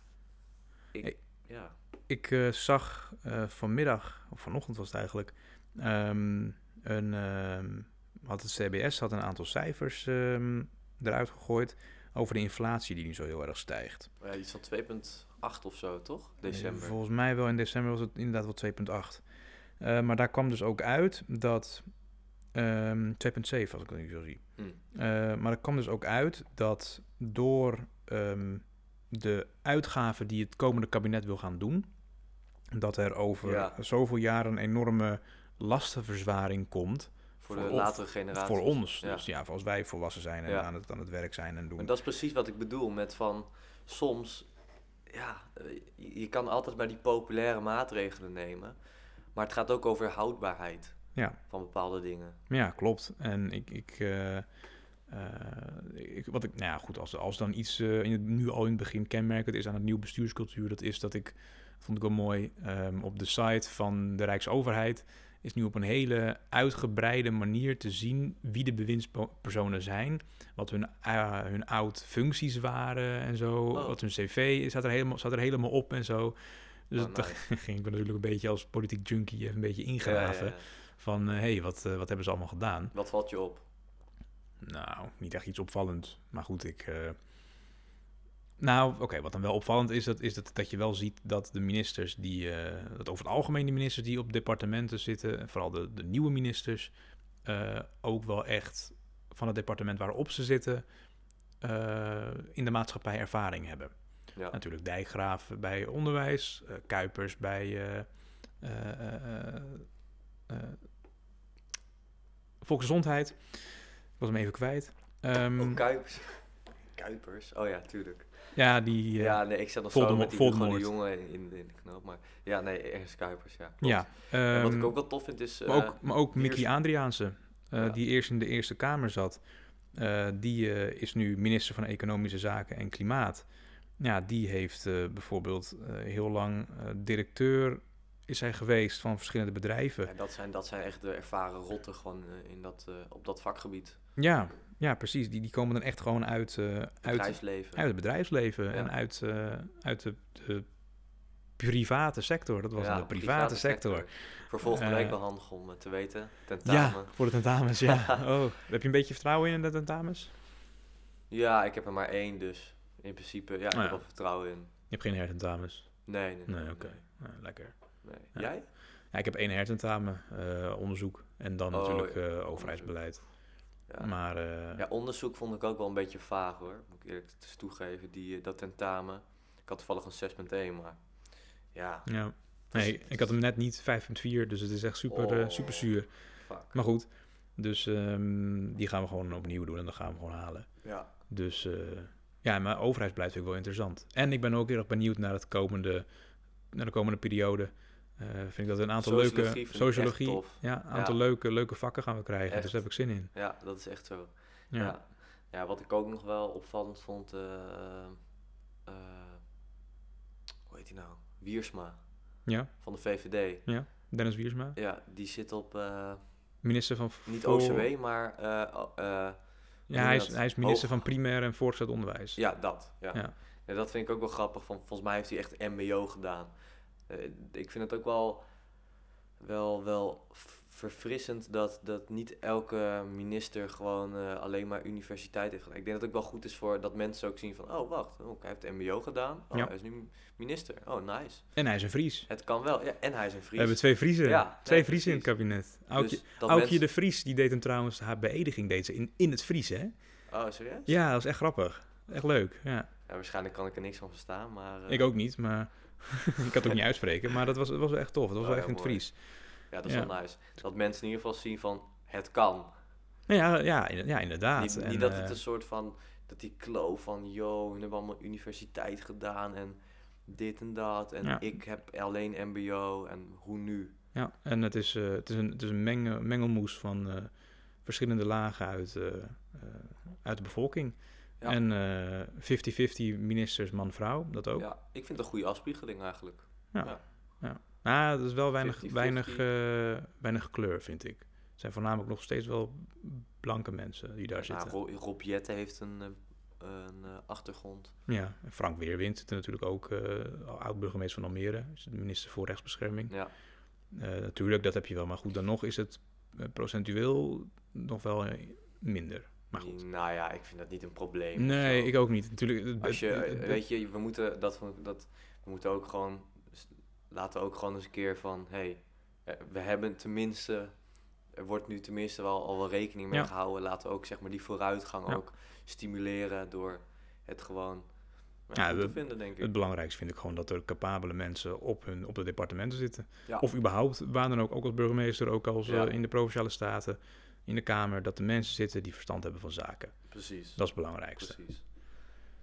[SPEAKER 2] Ik,
[SPEAKER 1] Hey.
[SPEAKER 2] ja.
[SPEAKER 1] Ik eh, zag eh, vanmiddag, of vanochtend was het eigenlijk, ehm, een, ehm, had het CBS had een aantal cijfers ehm, eruit gegooid over de inflatie die nu zo heel erg stijgt.
[SPEAKER 2] Ja, iets van 2,8 of zo, toch? December.
[SPEAKER 1] Volgens mij wel in december was het inderdaad wel 2,8. Eh, maar daar kwam dus ook uit dat. ehm 2,7 als ik het nu zo zie.
[SPEAKER 2] Mm.
[SPEAKER 1] Eh, maar er kwam dus ook uit dat door ehm, de uitgaven die het komende kabinet wil gaan doen, dat er over
[SPEAKER 2] Ja.
[SPEAKER 1] zoveel jaren een enorme lastenverzwaring komt.
[SPEAKER 2] Voor de
[SPEAKER 1] Voor-
[SPEAKER 2] latere generaties.
[SPEAKER 1] Voor ons.
[SPEAKER 2] Ja.
[SPEAKER 1] Dus ja, als wij volwassen zijn en
[SPEAKER 2] Ja.
[SPEAKER 1] aan, het, aan het werk zijn en
[SPEAKER 2] Maar
[SPEAKER 1] doen.
[SPEAKER 2] dat is precies wat ik bedoel met van soms, ja, eh, je je kan altijd maar die populaire maatregelen nemen. Maar het gaat ook over houdbaarheid
[SPEAKER 1] Ja.
[SPEAKER 2] van bepaalde dingen.
[SPEAKER 1] Ja, klopt. En ik, ik, eh, eh, ik wat ik, nou ja, goed, als, als dan iets eh, in het, nu al in het begin kenmerkend is aan het nieuwe bestuurscultuur, dat is dat ik, vond ik wel mooi, ehm, op de site van de Rijksoverheid is nu op een hele uitgebreide manier te zien wie de bewindspersonen zijn, wat hun, eh, hun oud functies waren en zo,
[SPEAKER 2] Oh.
[SPEAKER 1] wat hun cv is, staat er helemaal, staat er helemaal op en zo. Dus
[SPEAKER 2] Oh,
[SPEAKER 1] dat ging ik natuurlijk een beetje als politiek junkie even een beetje
[SPEAKER 2] Ja, ja,
[SPEAKER 1] ingraven.
[SPEAKER 2] ja.
[SPEAKER 1] Van, hé, hey, wat, eh, wat hebben ze allemaal gedaan?
[SPEAKER 2] Wat valt je op?
[SPEAKER 1] Nou, niet echt iets opvallends. Maar goed, ik. eh, Nou, oké, wat dan wel opvallend is, dat, is dat, dat je wel ziet dat de ministers die. eh, dat over het algemeen de ministers die op departementen zitten, en vooral de, de nieuwe ministers, eh, ook wel echt van het departement waarop ze zitten, eh, in de maatschappij ervaring hebben.
[SPEAKER 2] Ja.
[SPEAKER 1] Natuurlijk Dijkgraaf bij onderwijs, eh, Kuipers bij. eh, eh, eh, eh, eh, volksgezondheid. Ik was hem even kwijt. Ehm,
[SPEAKER 2] Oh, Kuipers. Kuipers? Oh ja, tuurlijk.
[SPEAKER 1] ja, die. eh,
[SPEAKER 2] Ja,
[SPEAKER 1] ja,
[SPEAKER 2] nee, ik zat nog zo
[SPEAKER 1] Voldemort-
[SPEAKER 2] met die Hugo de
[SPEAKER 1] Voldemort.
[SPEAKER 2] Jonge in, in, de knoop. Maar ja, nee, ergens Kuipers, ja. klopt. En
[SPEAKER 1] ehm,
[SPEAKER 2] wat ik ook wel tof vind is...
[SPEAKER 1] maar
[SPEAKER 2] eh,
[SPEAKER 1] ook, maar ook Mickey
[SPEAKER 2] eerst-
[SPEAKER 1] Adriaanse, eh,
[SPEAKER 2] Ja.
[SPEAKER 1] die eerst in de Eerste Kamer zat. eh, die eh, is nu minister van Economische Zaken en Klimaat. Ja, die heeft eh, bijvoorbeeld eh, heel lang eh, directeur is hij geweest van verschillende bedrijven.
[SPEAKER 2] ja, dat, zijn, dat zijn echt de ervaren rotten gewoon eh, in dat, eh, op dat vakgebied.
[SPEAKER 1] Ja, ja precies. Die, die komen dan echt gewoon uit, eh, uit,
[SPEAKER 2] Bedrijfsleven.
[SPEAKER 1] uit het bedrijfsleven en
[SPEAKER 2] Ja.
[SPEAKER 1] uit, eh, uit de, de private sector. Dat was
[SPEAKER 2] Ja,
[SPEAKER 1] dan de private sector.
[SPEAKER 2] Vervolgens
[SPEAKER 1] Eh,
[SPEAKER 2] blijkt wel handig om eh, te weten.
[SPEAKER 1] Ja,
[SPEAKER 2] Tentamen.
[SPEAKER 1] voor de tentamens, ja. Oh, heb je een beetje vertrouwen in de tentamens?
[SPEAKER 2] Ja. ik heb er maar één, dus in principe, ja,
[SPEAKER 1] Ah,
[SPEAKER 2] ik heb
[SPEAKER 1] ja.
[SPEAKER 2] wel vertrouwen in.
[SPEAKER 1] Je hebt geen hertentamens?
[SPEAKER 2] Nee, nee, nee.
[SPEAKER 1] Nee, oké. Nou, lekker.
[SPEAKER 2] nee.
[SPEAKER 1] Ja.
[SPEAKER 2] Jij?
[SPEAKER 1] Ja, ik heb één hertentamen, eh, onderzoek. En dan
[SPEAKER 2] Oh,
[SPEAKER 1] natuurlijk
[SPEAKER 2] ja,
[SPEAKER 1] eh, overheidsbeleid.
[SPEAKER 2] Ja.
[SPEAKER 1] Maar eh,
[SPEAKER 2] Ja, onderzoek vond ik ook wel een beetje vaag hoor. Moet ik eerlijk t- toegeven, die, eh, dat tentamen. Ik had toevallig een 6.1, maar ja,
[SPEAKER 1] ja. Nee, ik had hem net niet 5.4, dus het is echt super, eh,
[SPEAKER 2] Oh.
[SPEAKER 1] super zuur.
[SPEAKER 2] fuck.
[SPEAKER 1] Maar goed, dus ehm, die gaan we gewoon opnieuw doen en dan gaan we hem gewoon halen.
[SPEAKER 2] Ja.
[SPEAKER 1] Dus eh, ja, maar overheidsbeleid vind ik wel interessant. En ik ben ook heel erg benieuwd naar, het komende, naar de komende periode. Eh, vind ik dat we een aantal
[SPEAKER 2] Sociologie vind
[SPEAKER 1] leuke...
[SPEAKER 2] ik
[SPEAKER 1] Sociologie.
[SPEAKER 2] echt tof.
[SPEAKER 1] Ja, een aantal
[SPEAKER 2] Ja.
[SPEAKER 1] Leuke, leuke vakken gaan we krijgen. Dus
[SPEAKER 2] Echt.
[SPEAKER 1] daar heb ik zin in.
[SPEAKER 2] ja, dat is echt zo.
[SPEAKER 1] Ja.
[SPEAKER 2] Ja. ja. wat ik ook nog wel opvallend vond, eh, eh, hoe heet die nou? Wiersma
[SPEAKER 1] Ja.
[SPEAKER 2] van de VVD.
[SPEAKER 1] Dennis Wiersma,
[SPEAKER 2] Ja, die zit op, eh,
[SPEAKER 1] minister van...
[SPEAKER 2] niet
[SPEAKER 1] voor-
[SPEAKER 2] OCW, maar eh, o- eh, noem
[SPEAKER 1] Ja,
[SPEAKER 2] je
[SPEAKER 1] hij is,
[SPEAKER 2] dat?
[SPEAKER 1] hij is minister
[SPEAKER 2] Hoog-
[SPEAKER 1] van primair en voortgezet onderwijs.
[SPEAKER 2] Ja, dat. Ja.
[SPEAKER 1] Ja.
[SPEAKER 2] Ja, dat vind ik ook wel grappig. Van, volgens mij heeft hij echt MBO gedaan. Eh, ik vind het ook wel, wel, wel f- verfrissend dat, dat niet elke minister gewoon eh, alleen maar universiteit heeft gedaan. Ik denk dat het ook wel goed is voor dat mensen ook zien van, oh wacht, oh, hij heeft MBO gedaan. Oh,
[SPEAKER 1] Ja.
[SPEAKER 2] hij is nu minister. Oh, nice.
[SPEAKER 1] En hij is een Fries.
[SPEAKER 2] Het kan wel. Ja, en hij is een
[SPEAKER 1] We
[SPEAKER 2] Fries.
[SPEAKER 1] hebben twee Vriezen.
[SPEAKER 2] Ja,
[SPEAKER 1] twee
[SPEAKER 2] nee,
[SPEAKER 1] Vriezen in het kabinet. Aukje,
[SPEAKER 2] Dus dat
[SPEAKER 1] Aukje
[SPEAKER 2] mensen-
[SPEAKER 1] de Vries, die deed hem trouwens, haar beëdiging deed ze in, in het Fries, hè?
[SPEAKER 2] Oh, serieus?
[SPEAKER 1] Ja, dat was echt grappig. Echt leuk, ja.
[SPEAKER 2] Ja, waarschijnlijk kan ik er niks van verstaan, maar... eh,
[SPEAKER 1] Ik ook niet, maar... ik kan het ook niet uitspreken, maar dat was, dat was wel echt tof. Dat was
[SPEAKER 2] Oh,
[SPEAKER 1] wel
[SPEAKER 2] ja,
[SPEAKER 1] echt in het
[SPEAKER 2] mooi.
[SPEAKER 1] Fries.
[SPEAKER 2] Ja, dat is
[SPEAKER 1] Ja.
[SPEAKER 2] wel nice. Dat mensen in ieder geval zien van, het kan.
[SPEAKER 1] Nou ja, ja, in- ja, inderdaad.
[SPEAKER 2] Niet,
[SPEAKER 1] En,
[SPEAKER 2] niet dat
[SPEAKER 1] eh,
[SPEAKER 2] het dus- een soort van, dat die kloof van, yo, we hebben allemaal universiteit gedaan en dit en dat. En
[SPEAKER 1] Ja.
[SPEAKER 2] ik heb alleen mbo en hoe nu?
[SPEAKER 1] Ja, en het is, eh, het is een, het is een menge- mengelmoes van eh, verschillende lagen uit, eh, eh, uit de bevolking.
[SPEAKER 2] Ja.
[SPEAKER 1] En eh 50-50 ministers man-vrouw, dat ook.
[SPEAKER 2] Ja, ik vind het een goede afspiegeling eigenlijk.
[SPEAKER 1] Maar Nou, dat is wel weinig,
[SPEAKER 2] 50-50.
[SPEAKER 1] weinig, eh, weinig kleur, vind ik. Het zijn voornamelijk nog steeds wel blanke mensen die daar
[SPEAKER 2] nou,
[SPEAKER 1] zitten.
[SPEAKER 2] Ro- Rob Jette heeft een, eh, een eh, achtergrond.
[SPEAKER 1] Ja, en Frank Weerwind zit er natuurlijk ook, eh, al oud-burgemeester van Almere. Is de minister voor rechtsbescherming.
[SPEAKER 2] Ja,
[SPEAKER 1] Eh, natuurlijk, dat heb je wel. Maar goed, dan nog is het eh, procentueel nog wel eh, minder. Maar goed.
[SPEAKER 2] Nou ja, ik vind dat niet een probleem. of
[SPEAKER 1] Nee,
[SPEAKER 2] zo.
[SPEAKER 1] ik ook niet. Natuurlijk, het-
[SPEAKER 2] Als je,
[SPEAKER 1] het-
[SPEAKER 2] eh,
[SPEAKER 1] het-
[SPEAKER 2] weet je, we moeten dat van dat we moeten ook gewoon s- laten we ook gewoon eens een keer van hey, eh, we hebben tenminste er wordt nu tenminste wel al wel rekening mee
[SPEAKER 1] Ja.
[SPEAKER 2] gehouden. Laten we ook zeg maar die vooruitgang
[SPEAKER 1] Ja.
[SPEAKER 2] ook stimuleren door het gewoon eh,
[SPEAKER 1] Ja,
[SPEAKER 2] goed
[SPEAKER 1] we-
[SPEAKER 2] te vinden denk ik.
[SPEAKER 1] het belangrijkste vind ik gewoon dat er capabele mensen op hun op de departementen zitten.
[SPEAKER 2] Ja.
[SPEAKER 1] Of überhaupt, waar dan ook, ook als burgemeester, ook als eh,
[SPEAKER 2] Ja.
[SPEAKER 1] in de provinciale staten, in de Kamer, dat de mensen zitten die verstand hebben van zaken.
[SPEAKER 2] precies.
[SPEAKER 1] Dat is het belangrijkste.
[SPEAKER 2] precies.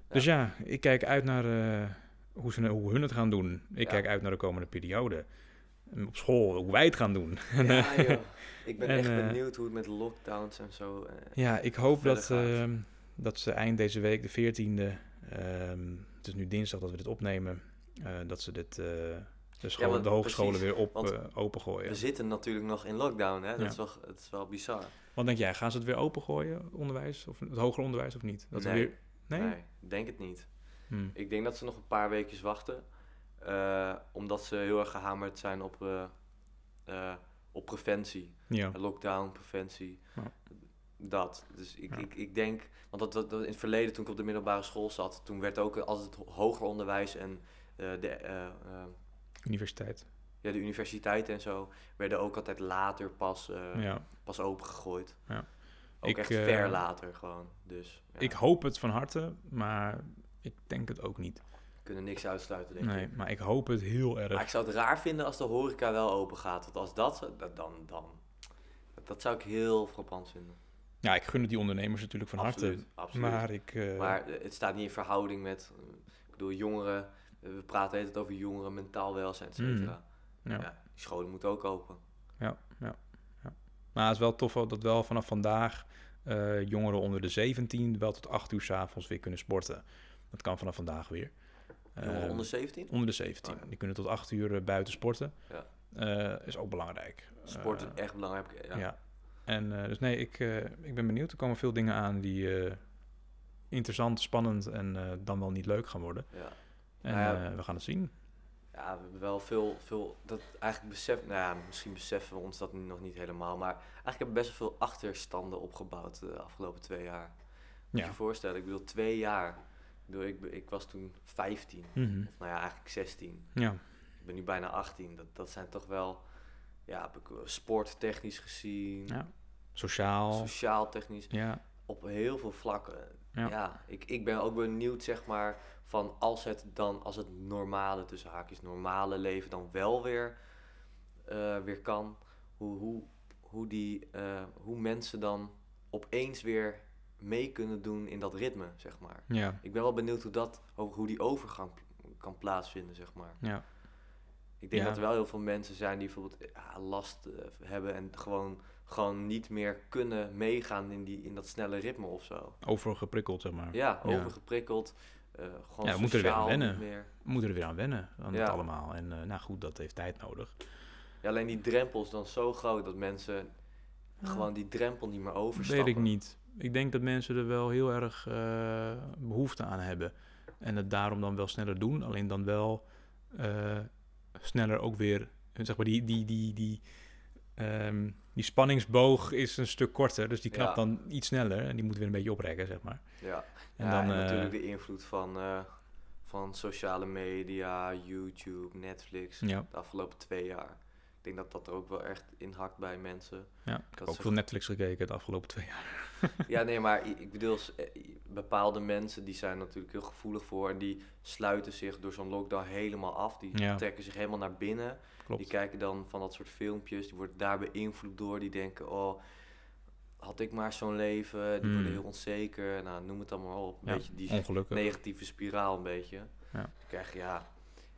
[SPEAKER 1] Dus ja, ik kijk uit naar eh, hoe, ze, hoe hun het gaan doen. Ik
[SPEAKER 2] Ja.
[SPEAKER 1] kijk uit naar de komende periode. En Op school, hoe wij het gaan doen. En,
[SPEAKER 2] Ja,
[SPEAKER 1] eh,
[SPEAKER 2] joh. Ik ben
[SPEAKER 1] en,
[SPEAKER 2] echt
[SPEAKER 1] eh,
[SPEAKER 2] benieuwd hoe het met lockdowns en zo. eh,
[SPEAKER 1] Ja, ik hoop
[SPEAKER 2] verder
[SPEAKER 1] dat,
[SPEAKER 2] gaat.
[SPEAKER 1] ehm, dat ze eind deze week, de 14e, ehm, het is nu dinsdag dat we dit opnemen, eh, dat ze dit, eh, de, school,
[SPEAKER 2] want
[SPEAKER 1] de hogescholen
[SPEAKER 2] precies,
[SPEAKER 1] weer op,
[SPEAKER 2] want
[SPEAKER 1] eh, opengooien.
[SPEAKER 2] We zitten natuurlijk nog in lockdown, hè? Dat,
[SPEAKER 1] Ja.
[SPEAKER 2] is wel, dat is wel bizar.
[SPEAKER 1] Wat denk jij, gaan ze het weer opengooien, onderwijs, of het hoger onderwijs of niet? Dat we
[SPEAKER 2] Nee.
[SPEAKER 1] weer... Nee?
[SPEAKER 2] Nee, denk het niet.
[SPEAKER 1] Hmm.
[SPEAKER 2] Ik denk dat ze nog een paar weekjes wachten. eh, omdat ze heel erg gehamerd zijn op, eh, eh, op preventie.
[SPEAKER 1] Ja.
[SPEAKER 2] Lockdown, preventie.
[SPEAKER 1] Ja.
[SPEAKER 2] Dat. Dus ik,
[SPEAKER 1] Ja.
[SPEAKER 2] ik, ik denk... Want dat, dat, dat in het verleden, toen ik op de middelbare school zat... toen werd ook altijd het ho- hoger onderwijs en eh, de, eh, eh,
[SPEAKER 1] Universiteit.
[SPEAKER 2] ja, de universiteiten en zo... werden ook altijd later pas, eh
[SPEAKER 1] ja.
[SPEAKER 2] pas opengegooid.
[SPEAKER 1] Ja.
[SPEAKER 2] Ook
[SPEAKER 1] Ik,
[SPEAKER 2] echt
[SPEAKER 1] eh,
[SPEAKER 2] ver later gewoon. Dus ja,
[SPEAKER 1] Ik hoop het van harte, maar ik denk het ook niet.
[SPEAKER 2] we kunnen niks uitsluiten, denk ik.
[SPEAKER 1] Nee, maar ik hoop het heel erg.
[SPEAKER 2] Maar ik zou het raar vinden als de horeca wel open gaat. Want als dat, zo- dat- dan, dan, dat, dat zou ik heel frappant vinden.
[SPEAKER 1] Ja, ik gun het die ondernemers natuurlijk van
[SPEAKER 2] absoluut,
[SPEAKER 1] harte.
[SPEAKER 2] absoluut. Maar,
[SPEAKER 1] Maar ik... eh,
[SPEAKER 2] eh, het staat niet in verhouding met, eh, ik bedoel, jongeren. eh, We praten altijd over jongeren, mentaal welzijn, et cetera.
[SPEAKER 1] Mm, ja.
[SPEAKER 2] Ja, die scholen moeten ook open.
[SPEAKER 1] Maar het is wel tof dat wel vanaf vandaag eh, jongeren onder de 17 wel tot 8 uur 's avonds weer kunnen sporten. Dat kan vanaf vandaag weer.
[SPEAKER 2] Jongeren
[SPEAKER 1] Eh,
[SPEAKER 2] onder 17?
[SPEAKER 1] onder de 17.
[SPEAKER 2] Oh, ja.
[SPEAKER 1] Die kunnen tot 8 uur eh, buiten sporten.
[SPEAKER 2] Ja.
[SPEAKER 1] Eh, is ook belangrijk.
[SPEAKER 2] Sport is
[SPEAKER 1] Eh,
[SPEAKER 2] echt belangrijk. Ja.
[SPEAKER 1] ja. En eh, dus nee, ik, eh, ik ben benieuwd. Er komen veel dingen aan die eh, interessant, spannend en eh, dan wel niet leuk gaan worden.
[SPEAKER 2] ja.
[SPEAKER 1] En
[SPEAKER 2] Nou ja.
[SPEAKER 1] eh, we gaan het zien.
[SPEAKER 2] Ja, we hebben wel veel, veel dat eigenlijk besef, nou ja, misschien beseffen we ons dat nu nog niet helemaal, maar eigenlijk hebben we best wel veel achterstanden opgebouwd eh, de afgelopen twee jaar. Moet
[SPEAKER 1] Ja.
[SPEAKER 2] je je voorstellen, ik bedoel twee jaar. Ik, bedoel, ik, be- ik was toen 15,
[SPEAKER 1] Mhm.
[SPEAKER 2] of nou ja, eigenlijk 16.
[SPEAKER 1] Ja,
[SPEAKER 2] Ik ben nu bijna 18. Dat, dat zijn toch wel, ja, be- sporttechnisch gezien,
[SPEAKER 1] Ja. sociaal.
[SPEAKER 2] sociaal technisch,
[SPEAKER 1] ja,
[SPEAKER 2] op heel veel vlakken.
[SPEAKER 1] Ja.
[SPEAKER 2] Ja, ik, ik ben ook benieuwd, zeg maar, van als het dan, als het normale, tussen haakjes, normale leven dan wel weer, eh, weer kan, hoe, hoe, hoe, die, eh, hoe mensen dan opeens weer mee kunnen doen in dat ritme, zeg maar.
[SPEAKER 1] ja,
[SPEAKER 2] Ik ben wel benieuwd hoe, dat, hoe hoe die overgang pl- kan plaatsvinden, zeg maar.
[SPEAKER 1] ja.
[SPEAKER 2] Ik denk
[SPEAKER 1] Ja.
[SPEAKER 2] dat er wel heel veel mensen zijn die bijvoorbeeld ja, last eh, hebben en gewoon, gewoon niet meer kunnen meegaan in, die, in dat snelle ritme of zo.
[SPEAKER 1] Overgeprikkeld, zeg maar.
[SPEAKER 2] Ja,
[SPEAKER 1] Ja.
[SPEAKER 2] overgeprikkeld. eh, gewoon
[SPEAKER 1] Ja, we moeten er weer aan
[SPEAKER 2] sociaal niet
[SPEAKER 1] wennen.
[SPEAKER 2] meer.
[SPEAKER 1] We moeten er weer aan wennen, aan
[SPEAKER 2] Ja.
[SPEAKER 1] dat allemaal. En eh, nou goed, dat heeft tijd nodig.
[SPEAKER 2] Ja, alleen die drempel is dan zo groot dat mensen gewoon die drempel niet meer overstappen.
[SPEAKER 1] Weet ik niet. Ik denk dat mensen er wel heel erg eh, behoefte aan hebben. En het daarom dan wel sneller doen. Alleen dan wel eh, sneller ook weer... eh, Zeg maar, die, die, die, die, ehm, die spanningsboog is een stuk korter. Dus die knapt
[SPEAKER 2] Ja.
[SPEAKER 1] dan iets sneller. En die moet weer een beetje oprekken, zeg maar.
[SPEAKER 2] Ja,
[SPEAKER 1] En
[SPEAKER 2] Ja,
[SPEAKER 1] dan...
[SPEAKER 2] en
[SPEAKER 1] eh,
[SPEAKER 2] natuurlijk de invloed van, eh, van sociale media, YouTube, Netflix.
[SPEAKER 1] ja,
[SPEAKER 2] De afgelopen twee jaar. Ik denk dat dat er ook wel echt inhakt bij mensen.
[SPEAKER 1] ja. Ik heb
[SPEAKER 2] Dat
[SPEAKER 1] ook
[SPEAKER 2] ze-
[SPEAKER 1] veel Netflix gekeken de afgelopen twee jaar.
[SPEAKER 2] Ja, nee, maar i- ik bedoel, s- eh, i- bepaalde mensen die zijn natuurlijk heel gevoelig voor en die sluiten zich door zo'n lockdown helemaal af. Die
[SPEAKER 1] Ja.
[SPEAKER 2] trekken zich helemaal naar binnen.
[SPEAKER 1] Klopt.
[SPEAKER 2] Die kijken dan van dat soort filmpjes, die worden daar beïnvloed door. Die denken, oh, had ik maar zo'n leven. Die worden
[SPEAKER 1] Mm.
[SPEAKER 2] heel onzeker. Nou, noem het dan maar op. Een
[SPEAKER 1] Ja,
[SPEAKER 2] beetje die
[SPEAKER 1] Ongelukkig.
[SPEAKER 2] negatieve spiraal een beetje.
[SPEAKER 1] Ja.
[SPEAKER 2] Dan krijg je, ja,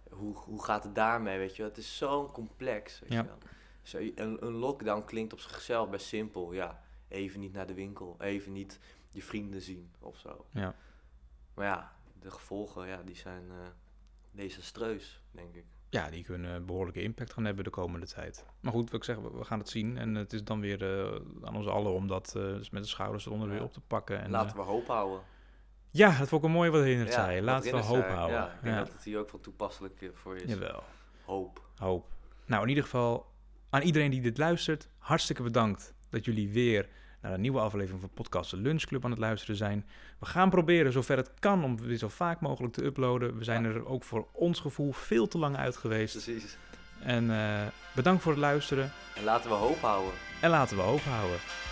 [SPEAKER 2] hoe, hoe gaat het daarmee, weet je wel? Het is zo'n complex, weet
[SPEAKER 1] Ja.
[SPEAKER 2] je wel. Zo, een, een lockdown klinkt op zichzelf best simpel, ja. Even niet naar de winkel, even niet je vrienden zien of zo.
[SPEAKER 1] Ja.
[SPEAKER 2] Maar ja, de gevolgen, ja, die zijn eh, desastreus, denk ik.
[SPEAKER 1] ja, die kunnen een behoorlijke impact gaan hebben de komende tijd. Maar goed, wat ik zeg, we we gaan het zien. En het is dan weer eh, aan ons allen om dat eh, dus met de schouders eronder
[SPEAKER 2] Ja.
[SPEAKER 1] weer op te pakken. En,
[SPEAKER 2] Laten
[SPEAKER 1] eh,
[SPEAKER 2] we hoop houden.
[SPEAKER 1] ja, dat vond ik een mooi wat Hindert
[SPEAKER 2] Ja,
[SPEAKER 1] zei.
[SPEAKER 2] wat
[SPEAKER 1] Laten we
[SPEAKER 2] Rinus
[SPEAKER 1] hoop
[SPEAKER 2] zei.
[SPEAKER 1] houden.
[SPEAKER 2] eh, Ja, ik denk
[SPEAKER 1] Ja,
[SPEAKER 2] dat het hier ook wel toepasselijk eh, voor is.
[SPEAKER 1] Jawel,
[SPEAKER 2] Hoop.
[SPEAKER 1] hoop. Nou, in ieder geval aan iedereen die dit luistert, hartstikke bedankt dat jullie weer naar een nieuwe aflevering van podcast De Lunch Club aan het luisteren zijn. We gaan proberen zover het kan om weer zo vaak mogelijk te uploaden. We zijn er ook voor ons gevoel veel te lang uit geweest.
[SPEAKER 2] Precies.
[SPEAKER 1] En eh, bedankt voor het luisteren
[SPEAKER 2] En laten we hoop houden.
[SPEAKER 1] en laten we hoop houden.